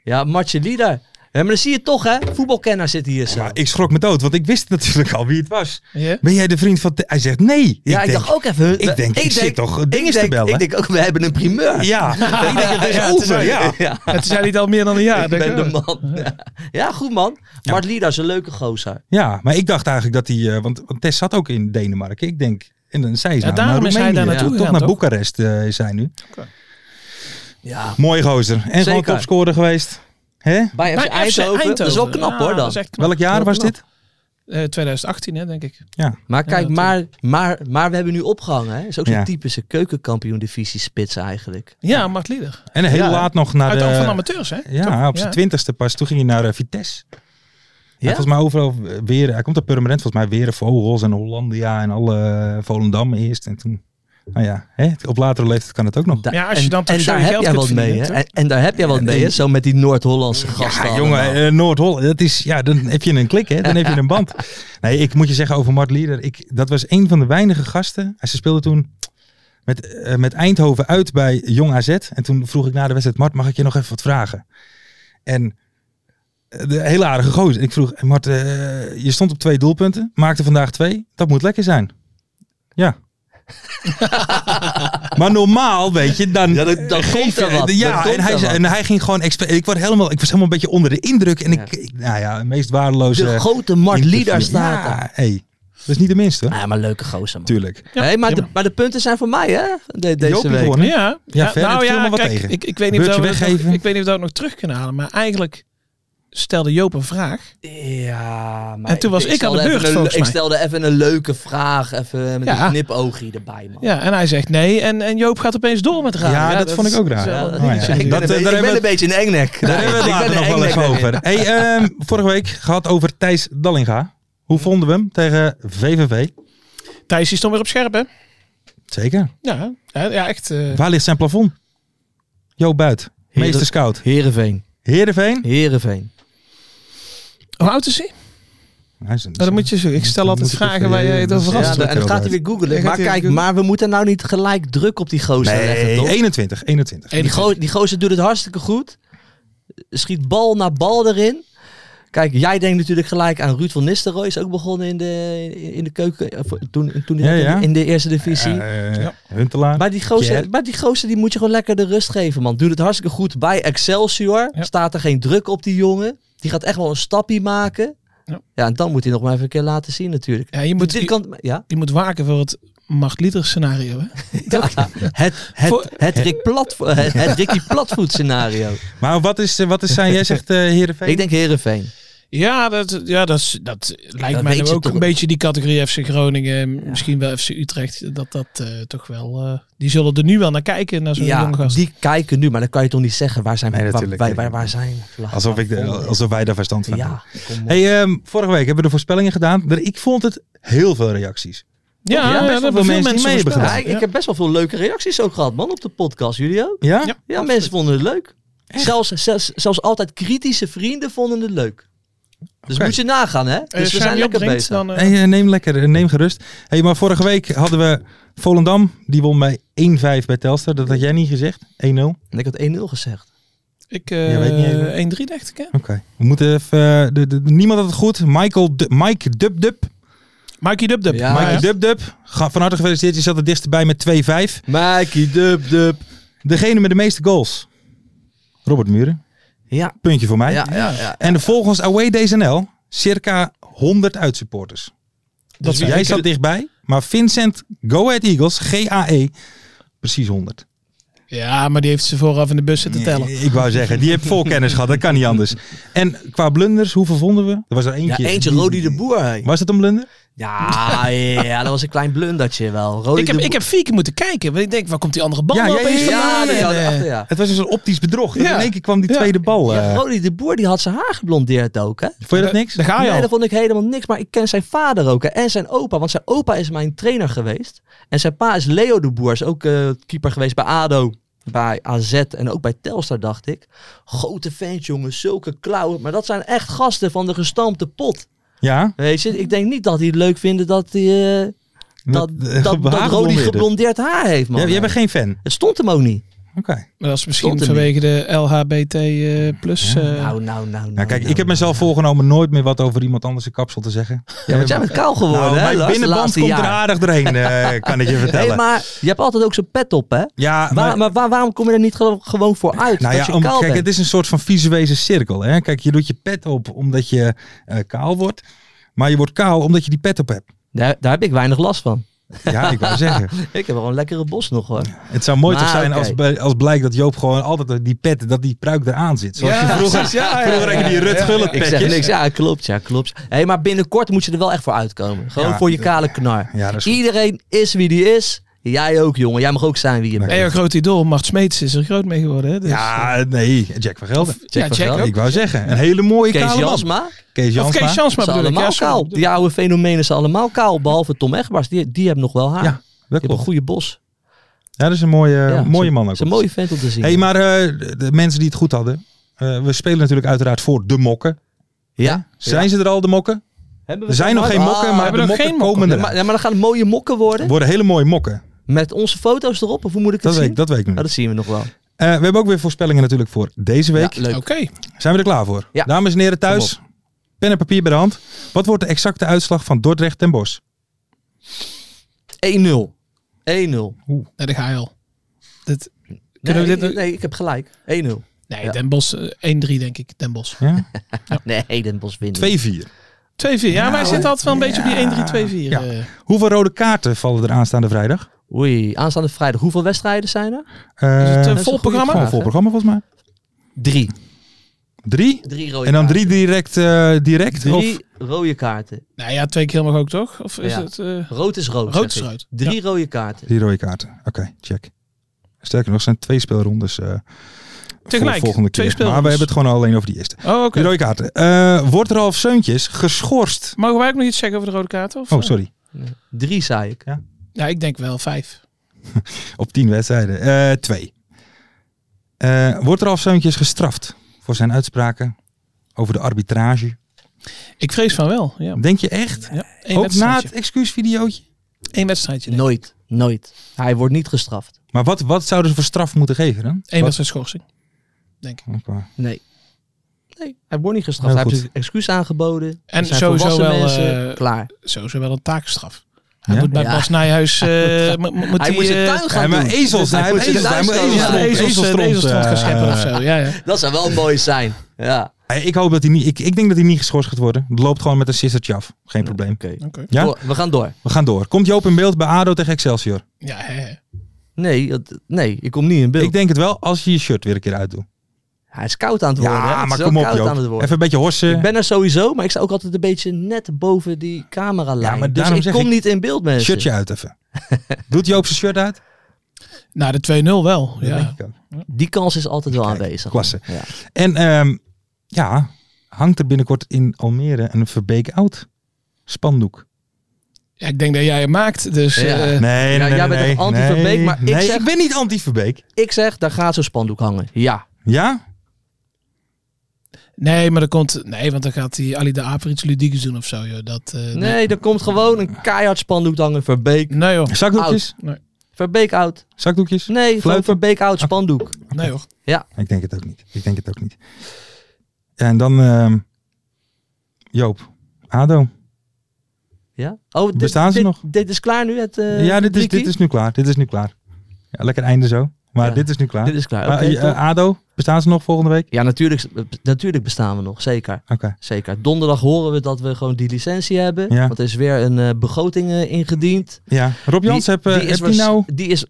Speaker 5: Ja, Martje Lieder. Hé, maar dan zie je toch hè, voetbalkenner zit hier zo.
Speaker 3: Maar ik schrok me dood, want ik wist natuurlijk al wie het was.
Speaker 4: Ja.
Speaker 3: Ben jij de vriend van... Te- Hij zegt nee.
Speaker 5: ja, ik
Speaker 3: denk-
Speaker 5: dacht ook even. eh,
Speaker 3: ik denk, ik zit toch dingen te
Speaker 5: denk-
Speaker 3: bellen.
Speaker 5: Ik denk ook, we hebben een
Speaker 4: oh.
Speaker 5: primeur.
Speaker 3: Ja, ik denk het is
Speaker 4: Ja, het is
Speaker 3: over. Ja.
Speaker 5: ja.
Speaker 4: Het is jij niet al meer dan een jaar.
Speaker 5: ik
Speaker 4: denk
Speaker 5: ben
Speaker 4: wel.
Speaker 5: de man. Ja. Ja, goed man. Mart Lieder is een leuke gozer.
Speaker 3: ja, maar ik dacht eigenlijk dat hij... eh, want, want Tess zat ook in Denemarken. Ik denk... En dan zei ze
Speaker 4: Ja,
Speaker 3: nou,
Speaker 4: daarom
Speaker 3: naar
Speaker 4: is hij
Speaker 3: Roemenië.
Speaker 4: daar naartoe
Speaker 3: Toch
Speaker 4: gegaan,
Speaker 3: naar
Speaker 4: toch?
Speaker 3: Boekarest eh, is hij nu.
Speaker 5: Ja,
Speaker 3: Mooi gozer. En gewoon
Speaker 5: Zeker.
Speaker 3: topscorer geweest. Hè?
Speaker 5: Bij FC
Speaker 4: Bij FC
Speaker 5: Eindhoven. Dat is wel knap
Speaker 4: Ja,
Speaker 5: hoor
Speaker 4: dat
Speaker 5: dan.
Speaker 4: is echt knap.
Speaker 3: Welk jaar
Speaker 4: Heel
Speaker 3: was
Speaker 4: knap.
Speaker 3: dit?
Speaker 4: Eh, 2018, hè, denk ik.
Speaker 5: Maar kijk,
Speaker 4: dat-
Speaker 5: maar, maar, maar we hebben nu opgehangen. Hè? Is ook zo'n
Speaker 3: Ja.
Speaker 5: typische keukenkampioen divisie spits eigenlijk.
Speaker 4: Ja, Mart Lieder.
Speaker 3: En heel
Speaker 5: Ja.
Speaker 3: laat nog naar
Speaker 4: Uit de hand van
Speaker 3: de...
Speaker 4: amateurs, hè?
Speaker 3: Ja, op zijn
Speaker 4: Ja.
Speaker 3: twintigste pas. Toen ging hij naar eh, Vitesse.
Speaker 5: Ja?
Speaker 3: Ja? Volgens mij overal eh, weer. Hij komt er permanent. Volgens mij weer Vogels en Hollandia en alle eh, Volendam eerst. En toen... Nou ja, hè? op latere leeftijd kan het ook nog.
Speaker 5: Da-
Speaker 4: Ja, als je dan toch
Speaker 5: en
Speaker 4: zo
Speaker 5: daar
Speaker 4: je
Speaker 5: heb
Speaker 4: geld
Speaker 5: jij
Speaker 4: kunt
Speaker 5: wat mee. Hè?
Speaker 4: verdienen,
Speaker 5: En, en daar heb jij wat mee, hè? zo met die Noord-Hollandse gasten.
Speaker 3: Ja,
Speaker 5: allemaal.
Speaker 3: jongen, eh, Noord-Holland, dat is, ja, dan heb je een klik, hè? dan heb je een band. Nee, ik moet je zeggen over Mart Lieder, ik, dat was een van de weinige gasten. Ze speelde toen met, eh, met Eindhoven uit bij Jong AZ. En toen vroeg ik na de wedstrijd, Mart, mag ik je nog even wat vragen? En eh, de hele aardige gozer. Ik vroeg, Mart, eh, je stond op twee doelpunten, maakte vandaag twee. Dat moet lekker zijn. Ja. maar normaal, weet je, dan,
Speaker 5: Ja, dan- dan komt er wat. Dan
Speaker 3: ja,
Speaker 5: komt
Speaker 3: en hij,
Speaker 5: er wat.
Speaker 3: en hij ging gewoon expert. Ik, word helemaal, ik was helemaal een beetje onder de indruk. En
Speaker 5: Ja.
Speaker 3: ik, ik- nou ja, de meest waardeloze.
Speaker 5: de grote Mart
Speaker 3: interview.
Speaker 5: Lieder staat er.
Speaker 3: Ja, hey, dat is niet de minste. hoor.
Speaker 5: Ah, maar leuke gozer, man.
Speaker 3: Tuurlijk.
Speaker 4: Ja,
Speaker 5: Hey, maar, de,
Speaker 4: prima.
Speaker 5: maar de punten zijn voor mij, hè? De- deze
Speaker 3: Jopie
Speaker 5: week.
Speaker 3: gewonnen.
Speaker 4: Ja,
Speaker 3: Ja, verder
Speaker 4: nou
Speaker 3: viel
Speaker 4: ja,
Speaker 3: me wat
Speaker 4: kijk,
Speaker 3: tegen.
Speaker 4: ik, ik, weet niet of
Speaker 3: Beurtje
Speaker 4: we dat nog,
Speaker 3: weggeven.
Speaker 4: ik weet niet of we dat nog terug kunnen halen, maar eigenlijk stelde Joop een vraag.
Speaker 5: Ja, maar
Speaker 4: En toen was ik aan de
Speaker 5: stelde
Speaker 4: beurt,
Speaker 5: even een-
Speaker 4: volgens
Speaker 5: Ik
Speaker 4: mij.
Speaker 5: stelde even een leuke vraag, even met
Speaker 4: Ja.
Speaker 5: een knipoogie erbij, man.
Speaker 4: Ja, en hij zegt nee en, en Joop gaat opeens door met raar.
Speaker 3: Ja, dat vond ik ook raar.
Speaker 5: Ja,
Speaker 3: Oh, ja.
Speaker 5: Ik ben,
Speaker 3: Dat, eh,
Speaker 5: een,
Speaker 3: daar
Speaker 5: beetje- ik
Speaker 3: hebben
Speaker 5: ben
Speaker 3: we-
Speaker 5: een beetje een engnek.
Speaker 3: Daar hebben we het later nog wel even over. Hey, ehm, vorige week gehad over Thijs Dallinga. Hoe vonden we hem tegen VVV?
Speaker 4: Thijs is dan weer op scherp, hè?
Speaker 3: Zeker.
Speaker 4: Ja, hè? ja echt. eh,
Speaker 3: Waar ligt zijn plafond? Jo Buit, meester scout.
Speaker 5: Herenveen.
Speaker 3: Heerenveen?
Speaker 5: Herenveen.
Speaker 4: hoe oud is hij?
Speaker 3: Hij is een-
Speaker 4: Nou, dan moet je zo. Ik stel altijd
Speaker 3: moet ik
Speaker 4: vragen
Speaker 3: even-
Speaker 4: waar jij het
Speaker 3: Ja,
Speaker 4: over had.
Speaker 5: Ja,
Speaker 3: dat
Speaker 5: en dan
Speaker 3: er
Speaker 5: gaat
Speaker 3: ook
Speaker 5: hij weer googlen.
Speaker 4: Hij
Speaker 5: Maar
Speaker 4: gaat weer
Speaker 5: kijk,
Speaker 4: googlen.
Speaker 5: maar we moeten nou niet gelijk druk op die gozer leggen,
Speaker 3: Nee,
Speaker 5: toch?
Speaker 3: 21, 21.
Speaker 5: Die, go- die gozer doet het hartstikke goed. Schiet bal na bal erin. Kijk, jij denkt natuurlijk gelijk aan Ruud van Nistelrooy. Is ook begonnen in de, in de keuken. eh, voor- Toen, toen hij
Speaker 3: Ja, ja.
Speaker 5: in de eerste divisie.
Speaker 3: Eh, Huntelaar.
Speaker 5: Maar die, gozer,
Speaker 3: Jer.
Speaker 5: maar die gozer die moet je gewoon lekker de rust geven, man. Doet het hartstikke goed bij Excelsior.
Speaker 4: Ja.
Speaker 5: Staat er geen druk op die jongen. Die gaat echt wel een stapje maken. Ja,
Speaker 4: Ja.
Speaker 5: en dan moet hij nog maar even een keer laten zien natuurlijk.
Speaker 4: Ja, je
Speaker 5: Dit
Speaker 4: moet, je,
Speaker 5: kan, ja.
Speaker 4: je moet waken voor het Machtlieter scenario. Hè?
Speaker 5: Het, het,
Speaker 4: Voor-
Speaker 5: het, Rick plat, het, het Ricky Platvoet scenario.
Speaker 3: Maar wat is, eh, wat is zijn, jij zegt eh Heerenveen?
Speaker 5: Ik denk Herenveen.
Speaker 4: Ja, dat, ja, dat, is- dat lijkt
Speaker 5: Dat
Speaker 4: mij
Speaker 5: weet
Speaker 4: nou
Speaker 5: je
Speaker 4: ook
Speaker 5: toch.
Speaker 4: een beetje die categorie FC Groningen. Misschien wel FC Utrecht. Dat dat eh, toch wel... eh, die zullen er nu wel naar kijken, naar zo'n
Speaker 5: Ja,
Speaker 4: jonge gast.
Speaker 5: die kijken nu, maar dan kan je toch niet zeggen waar zijn
Speaker 3: Nee,
Speaker 5: waar-
Speaker 3: natuurlijk.
Speaker 5: waar, waar, waar zijn.
Speaker 3: Alsof, ik de- alsof wij daar verstand van hebben.
Speaker 5: ja, kom op.
Speaker 3: Hey, ehm, vorige week hebben we de voorspellingen gedaan. Er- Ik vond het heel veel reacties.
Speaker 4: ja,
Speaker 3: ja,
Speaker 4: ja,
Speaker 3: best
Speaker 4: dat
Speaker 3: wel
Speaker 4: hebben
Speaker 3: veel
Speaker 4: veel
Speaker 3: mensen die
Speaker 4: mensen
Speaker 3: mee hebben
Speaker 5: Ja,
Speaker 4: voorspeld.
Speaker 5: ik, ik heb best wel veel leuke reacties ook gehad, man, op de podcast. Jullie ook?
Speaker 3: Ja?
Speaker 4: Ja.
Speaker 5: Ja, mensen vonden het leuk. Zelfs, zelfs, zelfs altijd kritische vrienden vonden het leuk. Dus
Speaker 3: Oké.
Speaker 5: moet je nagaan, hè?
Speaker 4: Eh,
Speaker 5: Dus we
Speaker 4: Samuel
Speaker 5: zijn lekker
Speaker 4: Brinks,
Speaker 5: bezig.
Speaker 4: Dan, eh,
Speaker 3: Hey, eh, neem lekker, eh, neem gerust. Hey, maar vorige week hadden we Volendam. Die won bij 1-5 bij Telstar. Dat had jij niet gezegd. 1-0.
Speaker 4: eh?
Speaker 5: En ik had 1-0 gezegd.
Speaker 4: ik
Speaker 3: Je weet niet even.
Speaker 4: eh 1-3 dacht ik, hè?
Speaker 3: Oké. We moeten even... eh, de, de- niemand had het goed. Michael Du- Mike Dub Dub.
Speaker 4: Mikey Dub Dub.
Speaker 5: Ja.
Speaker 3: Mike Dub Dub. Ga- Van harte gefeliciteerd. Je zat er dichterbij met 2-5.
Speaker 5: Mikey Dub Dub.
Speaker 3: Degene met de meeste goals. Robert Muren.
Speaker 5: Ja,
Speaker 3: Puntje voor mij.
Speaker 5: ja, ja. ja.
Speaker 3: En volgens Away DSNL circa 100 uitsupporters.
Speaker 4: Dat
Speaker 3: Dus
Speaker 4: zijn
Speaker 3: jij
Speaker 4: ik-
Speaker 3: zat dichtbij, maar Vincent Go Ahead Eagles, GAE, precies 100.
Speaker 4: Ja, maar die heeft ze vooraf in de bus zitten tellen.
Speaker 3: Ik wou zeggen, die heeft vol kennis gehad, dat kan niet anders. En qua blunders, hoeveel vonden we? Er was er
Speaker 5: Ja,
Speaker 3: eentje.
Speaker 5: eentje
Speaker 3: die-
Speaker 5: Rodi de Boer. hè.
Speaker 3: Was het een blunder?
Speaker 5: Ja, ja, dat was een klein blundertje wel. Rodi
Speaker 4: Ik heb,
Speaker 5: de
Speaker 4: ik
Speaker 5: Boer.
Speaker 4: heb vier keer moeten kijken. Want ik denk, waar komt die andere bal
Speaker 3: Ja,
Speaker 4: nou
Speaker 3: ja,
Speaker 4: opeens
Speaker 3: ja,
Speaker 5: Ja,
Speaker 4: vandaan?
Speaker 5: die
Speaker 4: En,
Speaker 5: had-
Speaker 4: eh,
Speaker 5: achter, ja.
Speaker 3: Het was dus een optisch bedrog. dat
Speaker 4: Ja.
Speaker 3: In één keer kwam die
Speaker 4: Ja.
Speaker 3: tweede bal. eh.
Speaker 5: Ja, Rodi de Boer die had zijn haar geblondeerd ook, hè?
Speaker 3: Vond je dat niks?
Speaker 4: Daar ga je
Speaker 5: Nee, dat
Speaker 4: al.
Speaker 5: vond ik helemaal niks. Maar ik ken zijn vader ook hè, en zijn opa. Want zijn opa is mijn trainer geweest. En zijn pa is Leo de Boer. Is ook eh, keeper geweest bij ADO, bij AZ en ook bij Telstar, dacht ik. Grote fans, jongen. Zulke klauwen. Maar dat zijn echt gasten van de gestampte pot.
Speaker 3: Ja,
Speaker 5: Weet je, ik denk niet dat die het leuk vinden dat die, eh, dat,
Speaker 3: met, eh,
Speaker 5: dat, dat,
Speaker 3: haar
Speaker 5: Rodi
Speaker 3: geblondeerd.
Speaker 5: geblondeerd haar heeft, man.
Speaker 3: Jij, jij bent geen fan?
Speaker 5: Het stond hem ook niet.
Speaker 3: Oké.
Speaker 4: Maar dat is misschien
Speaker 5: Stond er
Speaker 4: vanwege de LHBT eh, plus. eh,
Speaker 5: nou, nou, nou, nou.
Speaker 3: Nou, kijk,
Speaker 5: nou,
Speaker 3: ik heb
Speaker 5: nou.
Speaker 3: mezelf voorgenomen nooit meer wat over iemand anders' kapsel te zeggen.
Speaker 5: Ja, want jij bent kaal geworden,
Speaker 3: Nou,
Speaker 5: hè,
Speaker 3: mijn
Speaker 5: Lars, de
Speaker 3: binnenband
Speaker 5: laatste
Speaker 3: komt
Speaker 5: jaar.
Speaker 3: er aardig doorheen, eh, kan ik je vertellen.
Speaker 5: Nee, maar je hebt altijd ook zo'n pet op, hè?
Speaker 3: Ja,
Speaker 5: Waar-
Speaker 3: maar-
Speaker 5: maar waar- waarom kom je er niet gewoon- gewoon voor uit?
Speaker 3: nou ja,
Speaker 5: dat je
Speaker 3: om-
Speaker 5: kaal
Speaker 3: kijk,
Speaker 5: bent?
Speaker 3: het is een soort van visuele cirkel. Hè? Kijk, je doet je pet op omdat je eh, kaal wordt. Maar je wordt kaal omdat je die pet op hebt.
Speaker 5: daar, daar heb ik weinig last van.
Speaker 3: Ja, ik wou zeggen.
Speaker 5: Ik heb wel een lekkere bos nog hoor.
Speaker 3: Het zou mooi toch
Speaker 5: Maar,
Speaker 3: zijn als,
Speaker 5: oké.
Speaker 3: bij- als blijkt dat Joop gewoon altijd die pet, dat die pruik eraan zit. Zoals
Speaker 4: Ja,
Speaker 3: je vroeger,
Speaker 4: precies, ja, ja,
Speaker 3: vroeger had je die
Speaker 4: ja,
Speaker 3: Rut
Speaker 4: ja,
Speaker 3: Gullit
Speaker 5: Ik zeg
Speaker 3: petjes.
Speaker 5: niks, ja klopt, ja klopt. Hey, maar binnenkort moet je er wel echt voor uitkomen. Gewoon
Speaker 3: Ja,
Speaker 5: voor je
Speaker 3: dat-
Speaker 5: kale knar.
Speaker 3: Ja, dat is goed.
Speaker 5: Iedereen is wie die is. Jij ook jongen, jij mag ook zijn wie je bent.
Speaker 4: En jouw groot idool, Mart Smeets, is er groot mee geworden. Hè? Dus, eh,
Speaker 3: Ja, nee, Jack van Gelder.
Speaker 5: Jack van Gelder.
Speaker 3: Ik wou zeggen, een hele mooie
Speaker 5: Kees
Speaker 3: kale man.
Speaker 5: Jansma,
Speaker 3: Kees
Speaker 4: of
Speaker 3: Jansma.
Speaker 4: Kees Jansma
Speaker 5: ze zijn
Speaker 4: bedoel ik.
Speaker 5: allemaal
Speaker 4: Ja, sorry.
Speaker 5: kaal. Die oude fenomenen zijn allemaal kaal, behalve Tom Egbers. Die, die hebben nog wel haar.
Speaker 3: Ja,
Speaker 5: die
Speaker 3: Dat
Speaker 5: hebben een
Speaker 3: klopt.
Speaker 5: goede bos.
Speaker 3: Ja, dat is een mooie,
Speaker 5: Ja,
Speaker 3: mooie
Speaker 5: ze-
Speaker 3: man ook.
Speaker 5: Ze een mooie vent om te zien.
Speaker 3: Hé, hey, maar eh, de- de mensen die het goed hadden. eh, we spelen natuurlijk uiteraard voor de mokken.
Speaker 5: ja.
Speaker 3: Zijn ze er al, de mokken?
Speaker 5: Hebben
Speaker 3: Er
Speaker 5: we
Speaker 3: zijn nog
Speaker 5: het
Speaker 3: geen
Speaker 5: al?
Speaker 3: mokken,
Speaker 5: Ah,
Speaker 3: maar
Speaker 4: hebben
Speaker 3: de
Speaker 4: we nog
Speaker 3: mokken
Speaker 4: geen mokken?
Speaker 3: komen
Speaker 5: Ja,
Speaker 3: er.
Speaker 5: maar, ja, maar dan gaan het mooie mokken worden.
Speaker 3: worden hele mooie mokken.
Speaker 5: Met onze foto's erop. Of hoe moet ik het
Speaker 3: Dat
Speaker 5: zien?
Speaker 3: weet, ik- dat weet ik nu.
Speaker 5: Nou, dat zien we nog wel.
Speaker 3: Eh, we hebben ook weer voorspellingen natuurlijk voor deze week.
Speaker 5: Ja, leuk.
Speaker 4: Oké.
Speaker 3: Zijn we er klaar voor?
Speaker 5: Ja.
Speaker 3: Dames en heren thuis, pen en papier bij de hand. Wat wordt de exacte uitslag van Dordrecht ten Bos?
Speaker 5: 1-0. 1-0.
Speaker 4: Nee, daar ga je al. Dit,
Speaker 5: Nee,
Speaker 4: kunnen we dit...
Speaker 5: nee,
Speaker 4: nog-
Speaker 5: ik heb gelijk. 1-0.
Speaker 4: Nee,
Speaker 5: Ja.
Speaker 4: Den Bosch, eh, 1-3 denk ik, Den Bosch. 2-4.
Speaker 3: Ja?
Speaker 5: Nee, Den Bosch wint.
Speaker 3: 2-4.
Speaker 4: Ja, wij zitten altijd wel een beetje op die 1-3-2-4.
Speaker 3: Ja.
Speaker 4: eh.
Speaker 3: Hoeveel rode kaarten vallen er aanstaande vrijdag?
Speaker 5: Oei, aanstaande vrijdag. Hoeveel wedstrijden zijn er?
Speaker 3: Eh,
Speaker 4: Is het een
Speaker 5: is
Speaker 4: vol
Speaker 5: een goede
Speaker 4: programma?
Speaker 3: gewoon
Speaker 5: vraag,
Speaker 3: vol
Speaker 5: hè?
Speaker 3: programma volgens mij.
Speaker 5: Drie.
Speaker 3: Drie?
Speaker 5: Drie rode
Speaker 3: En dan
Speaker 5: kaarten.
Speaker 3: drie direct? eh, direct Of?
Speaker 5: Drie rode kaarten.
Speaker 4: Nou ja, twee keer mag ook toch? Of is
Speaker 5: Ja.
Speaker 4: het... eh,
Speaker 5: Rood is rood.
Speaker 4: Rood is
Speaker 5: zeg ik.
Speaker 4: rood.
Speaker 5: Drie rode kaarten.
Speaker 3: Drie rode kaarten. Oké, check. Sterker nog, zijn twee speelrondes. eh, voor
Speaker 4: Tegelijk,
Speaker 3: de volgende
Speaker 4: twee
Speaker 3: keer. Maar we
Speaker 4: speelrondes.
Speaker 3: hebben het gewoon alleen over die eerste.
Speaker 4: Oh, oké.
Speaker 3: Die rode kaarten. Eh, wordt Ralf Seuntjes geschorst?
Speaker 4: Mogen wij ook nog iets zeggen over de rode kaarten? Of, eh?
Speaker 3: Oh, sorry.
Speaker 5: Drie, zei ik.
Speaker 4: Ja, ik denk wel vijf.
Speaker 3: Op tien wedstrijden. Eh, twee. Eh, wordt Ralf Seuntjes gestraft voor zijn uitspraken over de arbitrage?
Speaker 4: Ik vrees van wel. Ja.
Speaker 3: Denk je echt?
Speaker 4: Ja. Eén
Speaker 3: Ook na
Speaker 4: wedstrijdje.
Speaker 3: het excuusvideootje?
Speaker 4: Eén wedstrijdje. denk ik.
Speaker 5: Nooit, nooit. Hij wordt niet gestraft.
Speaker 3: Maar wat, wat zouden ze voor straf moeten geven dan?
Speaker 4: Eén
Speaker 3: Wat-
Speaker 4: wedstrijd schorsing. Denk ik.
Speaker 3: Oké.
Speaker 5: Nee. Nee, hij wordt niet gestraft.
Speaker 3: Heel
Speaker 5: hij heeft
Speaker 3: goed.
Speaker 5: een excuus aangeboden.
Speaker 4: En
Speaker 5: Er zijn
Speaker 4: sowieso
Speaker 5: volwassen
Speaker 4: wel,
Speaker 5: mensen.
Speaker 4: eh,
Speaker 5: Klaar.
Speaker 4: Sowieso wel een taakstraf. Hij
Speaker 3: Ja?
Speaker 4: moet bij
Speaker 5: Ja.
Speaker 4: Bas Nijhuis... eh, mo- mo- moet
Speaker 5: Hij moet
Speaker 4: eh,
Speaker 5: zijn tuin gaan
Speaker 3: Ja, maar
Speaker 5: doen.
Speaker 4: Dus
Speaker 3: ezels, hij heeft
Speaker 5: moet
Speaker 3: ezels, hij
Speaker 5: zijn
Speaker 3: moet
Speaker 5: tuin
Speaker 3: ezels-
Speaker 5: gaan
Speaker 4: ja,
Speaker 5: doen.
Speaker 4: ezels,
Speaker 3: ezelstront,
Speaker 4: eh, ezelstront gaan
Speaker 3: eh,
Speaker 4: scheppen of zo. Ja, ja.
Speaker 5: Dat zou wel mooi zijn. Ja.
Speaker 3: Hey, Eh, Ik hoop dat hij niet. Ik, ik denk dat hij niet geschorst gaat worden. Het loopt gewoon met een sissertje af. Geen probleem.
Speaker 4: Oké.
Speaker 3: Ja?
Speaker 5: Door, we gaan door.
Speaker 3: We gaan door. Komt Joop in beeld bij ADO tegen Excelsior?
Speaker 4: Ja, hè, hè.
Speaker 5: Nee, dat- nee, ik kom niet in beeld.
Speaker 3: Ik denk het wel als je je shirt weer een keer uitdoet.
Speaker 5: Hij is koud aan het worden. hè.
Speaker 3: Ja,
Speaker 5: Het is
Speaker 3: maar
Speaker 5: wel
Speaker 3: kom op
Speaker 5: koud aan het
Speaker 3: Joop.
Speaker 5: worden.
Speaker 3: Even een beetje horsen.
Speaker 5: Ik ben er sowieso, maar ik sta ook altijd een beetje net boven die cameralijn.
Speaker 3: Ja, maar
Speaker 5: dus
Speaker 3: daarom
Speaker 5: ik
Speaker 3: zeg
Speaker 5: kom
Speaker 3: ik-
Speaker 5: niet in beeld, mensen.
Speaker 3: Shirtje uit even. Doet Joop zijn shirt uit?
Speaker 4: Nou, de 2-0 wel.
Speaker 3: Dat
Speaker 4: Ja.
Speaker 3: denk ik ook.
Speaker 5: Die kans is altijd wel aanwezig.
Speaker 3: klasse.
Speaker 5: Ja.
Speaker 3: En ehm, ja, hangt er binnenkort in Almere een Verbeek Oud spandoek?
Speaker 4: ja, ik denk dat jij hem maakt. Dus
Speaker 5: Ja.
Speaker 4: eh,
Speaker 3: Nee, nee,
Speaker 5: Ja,
Speaker 3: nee,
Speaker 5: jij
Speaker 3: nee,
Speaker 5: bent toch anti-Verbeek,
Speaker 3: nee,
Speaker 5: maar ik
Speaker 3: nee,
Speaker 5: zeg-
Speaker 3: ik ben niet anti-Verbeek.
Speaker 5: Ik zeg, daar gaat zo'n spandoek hangen. Ja.
Speaker 3: Ja?
Speaker 4: nee, maar dan komt... Nee, want dan gaat die Ali de Aper iets ludieks doen of zo. Joh. Dat, eh,
Speaker 5: Nee, er komt gewoon een keihard spandoek hangen. Verbeek.
Speaker 4: Nee hoor.
Speaker 3: Zakdoekjes?
Speaker 5: Verbeek oud.
Speaker 3: Zakdoekjes?
Speaker 5: Nee, gewoon
Speaker 3: Fluiten.
Speaker 5: Verbeek oud spandoek.
Speaker 4: Nee hoor.
Speaker 3: Ik denk het ook niet. Ik denk het ook niet. En dan ehm, Joop, ADO.
Speaker 5: Ja? Oh, dit,
Speaker 3: Bestaan ze
Speaker 5: dit-
Speaker 3: nog?
Speaker 5: Dit is klaar nu, het eh,
Speaker 3: ja, dit is,
Speaker 5: wiki?
Speaker 3: dit is nu klaar. Dit is nu klaar. Ja, lekker einde zo. Maar
Speaker 5: Ja.
Speaker 3: dit is nu klaar.
Speaker 5: Dit is klaar.
Speaker 3: Maar,
Speaker 5: Oké,
Speaker 3: eh,
Speaker 5: top.
Speaker 3: ADO, bestaan ze nog volgende week?
Speaker 5: Ja, natuurlijk, natuurlijk bestaan we nog. Zeker.
Speaker 3: Oké.
Speaker 5: Zeker. Donderdag horen we dat we gewoon die licentie hebben.
Speaker 3: Ja.
Speaker 5: Want er is weer een eh, begroting eh, ingediend.
Speaker 3: Ja, Rob Jans, heb, eh,
Speaker 5: is
Speaker 3: heb
Speaker 5: waars-
Speaker 3: je nou
Speaker 5: Die is...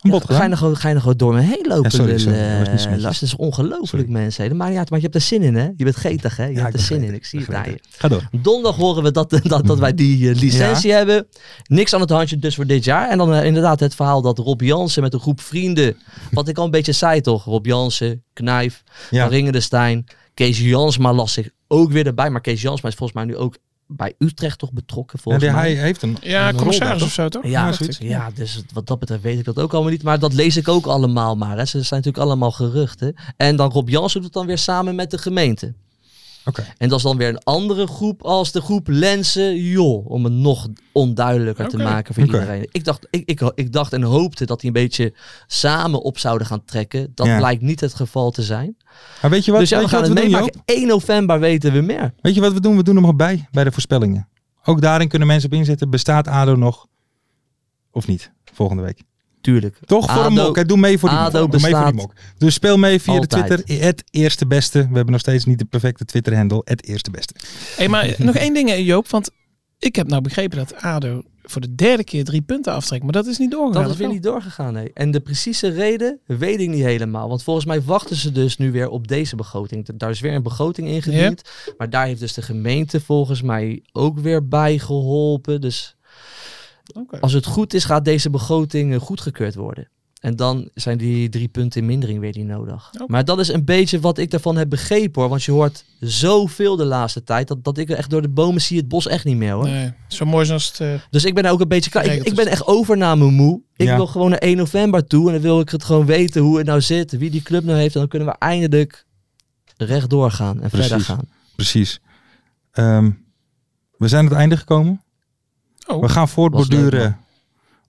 Speaker 3: een bod
Speaker 5: ga, je
Speaker 3: gedaan?
Speaker 5: nog, gewoon- ga je nog gewoon door me heen lopen,
Speaker 3: Ja, sorry,
Speaker 5: lul,
Speaker 3: sorry. Dat was niet zo
Speaker 5: eh,
Speaker 3: netjes.
Speaker 5: Lars? Dat is ongelooflijk,
Speaker 3: Sorry.
Speaker 5: mensen. hè. Dat maakt niet uit, maar je hebt er zin in, hè? Je bent getig, hè? Je
Speaker 3: Ja, ik
Speaker 5: hebt er
Speaker 3: ben
Speaker 5: zin in.
Speaker 3: gretig.
Speaker 5: Ik zie het
Speaker 3: Ben
Speaker 5: aan je.
Speaker 3: gretig. Ga door.
Speaker 5: Donderdag horen we dat, dat, dat wij die eh, licentie hebben. Niks aan het handje dus voor dit jaar. En dan eh, inderdaad het verhaal dat Rob Jansen met een groep vrienden... Wat ik al een beetje zei toch? Rob Jansen, Knijf,
Speaker 3: Ja.
Speaker 5: Van Ringen de Stijn. Kees Jansma las zich ook weer erbij. Maar Kees Jansma is volgens mij nu ook bij Utrecht toch betrokken
Speaker 3: Ja,
Speaker 5: volgens
Speaker 3: die-
Speaker 5: mij.
Speaker 3: hij heeft een
Speaker 4: Ja,
Speaker 3: een rol daar,
Speaker 4: commissaris
Speaker 3: toch?
Speaker 4: of zo toch?
Speaker 5: Ja,
Speaker 4: dacht ik.
Speaker 5: ja, dus het- wat dat betreft weet ik dat ook allemaal niet. Maar dat lees ik ook allemaal maar. Hè. Ze zijn natuurlijk allemaal geruchten. En dan Rob Jansen doet het dan weer samen met de gemeente.
Speaker 3: Oké.
Speaker 5: En dat is dan weer een andere groep als de groep Lensen Jol. Om het nog onduidelijker te
Speaker 4: Oké.
Speaker 5: maken voor
Speaker 3: Oké.
Speaker 5: iedereen. Ik dacht, ik, ik, ik dacht en hoopte dat die een beetje samen op zouden gaan trekken. Dat
Speaker 3: Ja.
Speaker 5: lijkt niet het geval te zijn.
Speaker 3: Maar weet je wat,
Speaker 5: dus ja, we
Speaker 3: weet je
Speaker 5: gaan
Speaker 3: wat
Speaker 5: het
Speaker 3: we doen,
Speaker 5: meemaken.
Speaker 3: Joop?
Speaker 5: 1 november weten we meer.
Speaker 3: Weet je wat we doen? We doen hem nog bij, bij de voorspellingen. Ook daarin kunnen mensen op inzetten. Bestaat ADO nog of niet volgende week?
Speaker 5: Tuurlijk. Ah,
Speaker 3: Toch voor een
Speaker 5: ADO
Speaker 3: mok. Hè? Doe mee voor die,
Speaker 5: ADO
Speaker 3: mok. Doe mee voor die
Speaker 5: bestaat
Speaker 3: mok. Dus speel mee via
Speaker 5: altijd.
Speaker 3: de Twitter. Het eerste beste. We hebben nog steeds niet de perfecte Twitter handle. Het eerste beste.
Speaker 4: Hey, maar nog één ding, hè, Joop. Want ik heb nou begrepen dat ADO voor de derde keer drie punten aftrekt. Maar dat is niet doorgegaan.
Speaker 5: Dat is
Speaker 4: of
Speaker 5: weer
Speaker 4: wel?
Speaker 5: niet doorgegaan, nee. En de precieze reden weet ik niet helemaal. Want volgens mij wachten ze dus nu weer op deze begroting. Daar is weer een begroting ingediend. Maar daar heeft dus de gemeente volgens mij ook weer bij geholpen. Dus
Speaker 4: Oké.
Speaker 5: als het goed is, gaat deze begroting eh, goedgekeurd worden. En dan zijn die drie punten in mindering weer niet nodig.
Speaker 4: Oké.
Speaker 5: Maar dat is een beetje wat ik daarvan heb begrepen hoor. Want je hoort zoveel de laatste tijd. Dat, dat ik echt door de bomen zie het bos echt niet meer hoor.
Speaker 4: Nee, zo mooi is als het... eh,
Speaker 5: Dus ik ben daar ook een beetje klaar. Ik,
Speaker 4: Regelt
Speaker 5: ik
Speaker 4: is
Speaker 5: ben echt overname moe. Ik
Speaker 3: Ja.
Speaker 5: wil gewoon naar 1 november toe. En dan wil ik het gewoon weten hoe het nou zit. Wie die club nou heeft. En dan kunnen we eindelijk rechtdoor gaan. En verder
Speaker 3: Precies.
Speaker 5: gaan.
Speaker 3: Precies. Ehm, we zijn aan het einde gekomen.
Speaker 4: Oh.
Speaker 3: we gaan voortborduren
Speaker 5: Was leuk,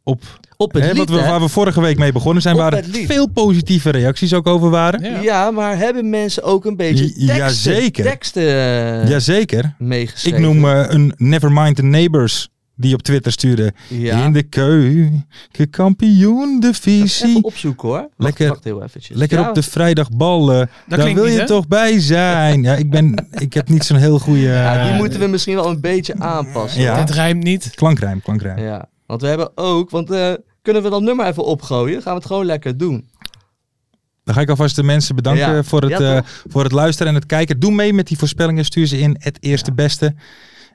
Speaker 3: op
Speaker 5: Op het
Speaker 3: hè,
Speaker 5: lied,
Speaker 3: wat we,
Speaker 5: hè?
Speaker 3: waar we vorige week mee begonnen zijn.
Speaker 5: Op
Speaker 3: Waar
Speaker 5: het
Speaker 3: er
Speaker 5: lied.
Speaker 3: veel positieve reacties ook over waren.
Speaker 4: ja.
Speaker 5: ja. maar hebben mensen ook een beetje
Speaker 3: Ja,
Speaker 5: teksten,
Speaker 3: jazeker.
Speaker 5: teksten eh,
Speaker 3: Jazeker.
Speaker 5: meegeschreven?
Speaker 3: Ik noem eh, een Nevermind the Neighbors die op Twitter stuurde.
Speaker 5: Ja.
Speaker 3: In de keuken, kampioen de
Speaker 5: Even
Speaker 3: visie.
Speaker 5: opzoeken hoor. Wacht,
Speaker 3: Lekker-
Speaker 5: wacht heel eventjes.
Speaker 3: Lekker
Speaker 5: Ja,
Speaker 3: op de eh, vrijdagballen. Daar
Speaker 4: klinkt
Speaker 3: wil
Speaker 4: niet,
Speaker 3: je
Speaker 4: hè?
Speaker 3: toch bij zijn. Ja, ik, ben, ik heb niet zo'n heel goede
Speaker 5: ja, die
Speaker 3: eh,
Speaker 5: moeten we misschien wel een beetje aanpassen.
Speaker 3: Ja.
Speaker 4: Dit rijmt niet.
Speaker 3: klankrijm. klankrijm.
Speaker 5: Ja. Want we hebben ook... Want eh, kunnen we dat nummer even opgooien? Gaan we het gewoon lekker doen.
Speaker 3: Dan ga ik alvast de mensen bedanken
Speaker 5: Ja.
Speaker 3: voor, het,
Speaker 5: Ja,
Speaker 3: eh, voor het luisteren en het kijken. Doe mee met die voorspellingen. Stuur ze in. Het eerste beste.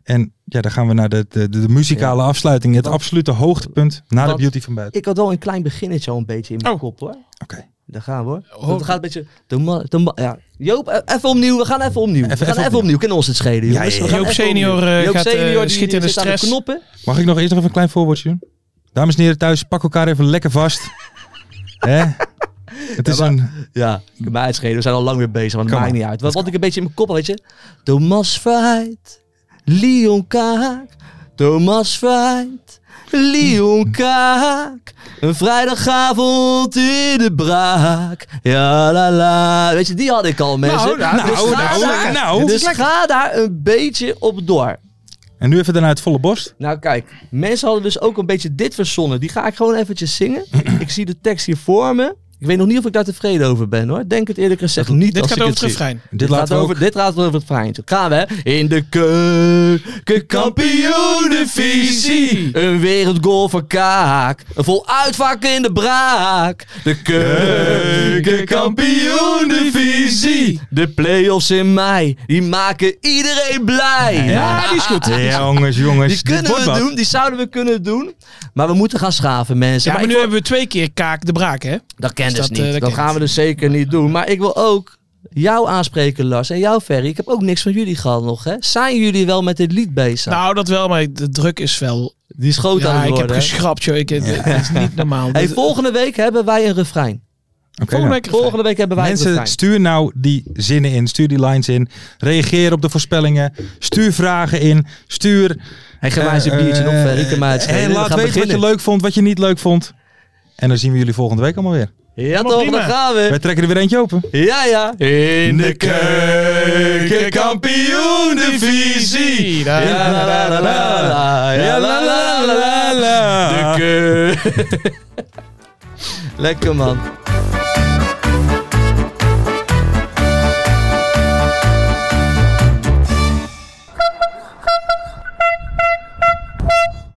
Speaker 3: En ja, dan gaan we naar de, de, de muzikale afsluiting. Het
Speaker 5: Want-
Speaker 3: absolute hoogtepunt. Naar de
Speaker 5: want-
Speaker 3: beauty van buiten.
Speaker 5: Ik had wel een klein beginnetje al een beetje in mijn
Speaker 4: Oh.
Speaker 5: kop hoor.
Speaker 3: Oké.
Speaker 5: Daar gaan we hoor.
Speaker 4: Oh.
Speaker 5: Dat gaat een beetje... De ma- de ma- ja. Joop, e- even opnieuw. We gaan even opnieuw.
Speaker 3: Even-
Speaker 5: we gaan
Speaker 3: even
Speaker 5: even opnieuw. Kunnen ons het schelen
Speaker 3: Ja,
Speaker 5: jongens.
Speaker 3: ja,
Speaker 5: We
Speaker 3: ja.
Speaker 5: gaan
Speaker 4: Joop
Speaker 5: even
Speaker 4: senior,
Speaker 5: opnieuw.
Speaker 4: eh,
Speaker 5: Joop
Speaker 4: gaat, eh,
Speaker 5: senior die,
Speaker 4: schiet in de
Speaker 5: zit aan
Speaker 4: stress.
Speaker 5: knoppen.
Speaker 3: Mag ik nog eerst nog even een klein voorwoordje doen? Dames en heren thuis, pak elkaar even lekker vast. Hè? Het is een...
Speaker 5: Ja, kan mij uitschelen. We zijn al lang weer bezig, want het
Speaker 3: Kan
Speaker 5: maakt
Speaker 3: wel.
Speaker 5: niet uit. Wat, wat ik een beetje in mijn kop had, weet je. Thomas Verheid, Leon Kaak. Thomas Verheid, Leon Kaak. Een vrijdagavond in de braak. Ja, la, la. Weet je, die had ik al, mensen.
Speaker 4: nou,
Speaker 5: dus ga
Speaker 3: nou,
Speaker 5: daar,
Speaker 3: nou.
Speaker 5: dus ga daar een beetje op door.
Speaker 3: En nu even daarna het volle borst.
Speaker 5: Nou kijk, mensen hadden dus ook een beetje dit verzonnen. Die ga ik gewoon eventjes zingen. ik zie de tekst hier voor me. Ik weet nog niet of ik daar tevreden over ben hoor. Denk het eerlijk gezegd niet
Speaker 4: Dit
Speaker 5: als
Speaker 4: gaat
Speaker 5: ik
Speaker 4: over
Speaker 5: het
Speaker 4: het
Speaker 5: zie.
Speaker 4: refrein.
Speaker 3: Dit, laten we ook-
Speaker 5: over, dit gaat over het fijntje. Gaan we, hè? In de keukenkampioenenvisie. Een wereldgoal van Kaak. Een voluitvakken in de braak. De keukenkampioenenvisie. De play-offs in mei. Die maken iedereen blij.
Speaker 3: Ja, die is goed. jongens, jongens.
Speaker 5: Die
Speaker 3: dit
Speaker 5: kunnen
Speaker 3: wordt
Speaker 5: we
Speaker 3: wat.
Speaker 5: doen, die zouden we kunnen doen. Maar we moeten gaan schaven, mensen.
Speaker 4: Ja, maar
Speaker 5: ik
Speaker 4: nu
Speaker 5: wil-
Speaker 4: hebben we twee keer kaak de braak, hè?
Speaker 5: Dat kent
Speaker 4: Dus
Speaker 5: dus
Speaker 4: dat,
Speaker 5: niet.
Speaker 4: eh, dat
Speaker 5: dat
Speaker 4: kent.
Speaker 5: gaan we dus zeker niet doen. Maar ik wil ook jou aanspreken, Lars. En jou, Ferry. Ik heb ook niks van jullie gehad nog, hè? Zijn jullie wel met dit lied bezig?
Speaker 4: Nou, dat wel, maar de druk is wel...
Speaker 5: die is groot aan
Speaker 4: Ja,
Speaker 5: het
Speaker 4: ik heb
Speaker 5: worden. hè?
Speaker 4: geschrapt, joh. Ik, Het is niet normaal.
Speaker 5: Hey,
Speaker 4: Dit-
Speaker 5: volgende week hebben wij een refrein.
Speaker 3: Oké,
Speaker 4: volgende
Speaker 3: nou.
Speaker 4: week refrein.
Speaker 5: Volgende week hebben wij een
Speaker 3: Mensen,
Speaker 5: refrein.
Speaker 3: stuur nou die zinnen in. Stuur die lines in. Reageer op de voorspellingen. Stuur vragen in. Stuur...
Speaker 5: Hey, geef mij eens een
Speaker 3: eh,
Speaker 5: biertje nog,
Speaker 3: eh,
Speaker 5: Ferry. Ik kan mij het schelen.
Speaker 3: En
Speaker 5: We
Speaker 3: laat
Speaker 5: gaan
Speaker 3: weten
Speaker 5: beginnen.
Speaker 3: wat je leuk vond, wat je niet leuk vond. En dan zien we jullie volgende week allemaal weer.
Speaker 5: Ja, toch? Dan
Speaker 4: prima.
Speaker 5: gaan
Speaker 3: Wij
Speaker 5: we.
Speaker 3: trekken er weer eentje open.
Speaker 5: Ja, ja. In de
Speaker 4: Zie, daar.
Speaker 5: Ja, la, la, la, la, la. Ja, la, la, la, la, la. De keu- Lekker man.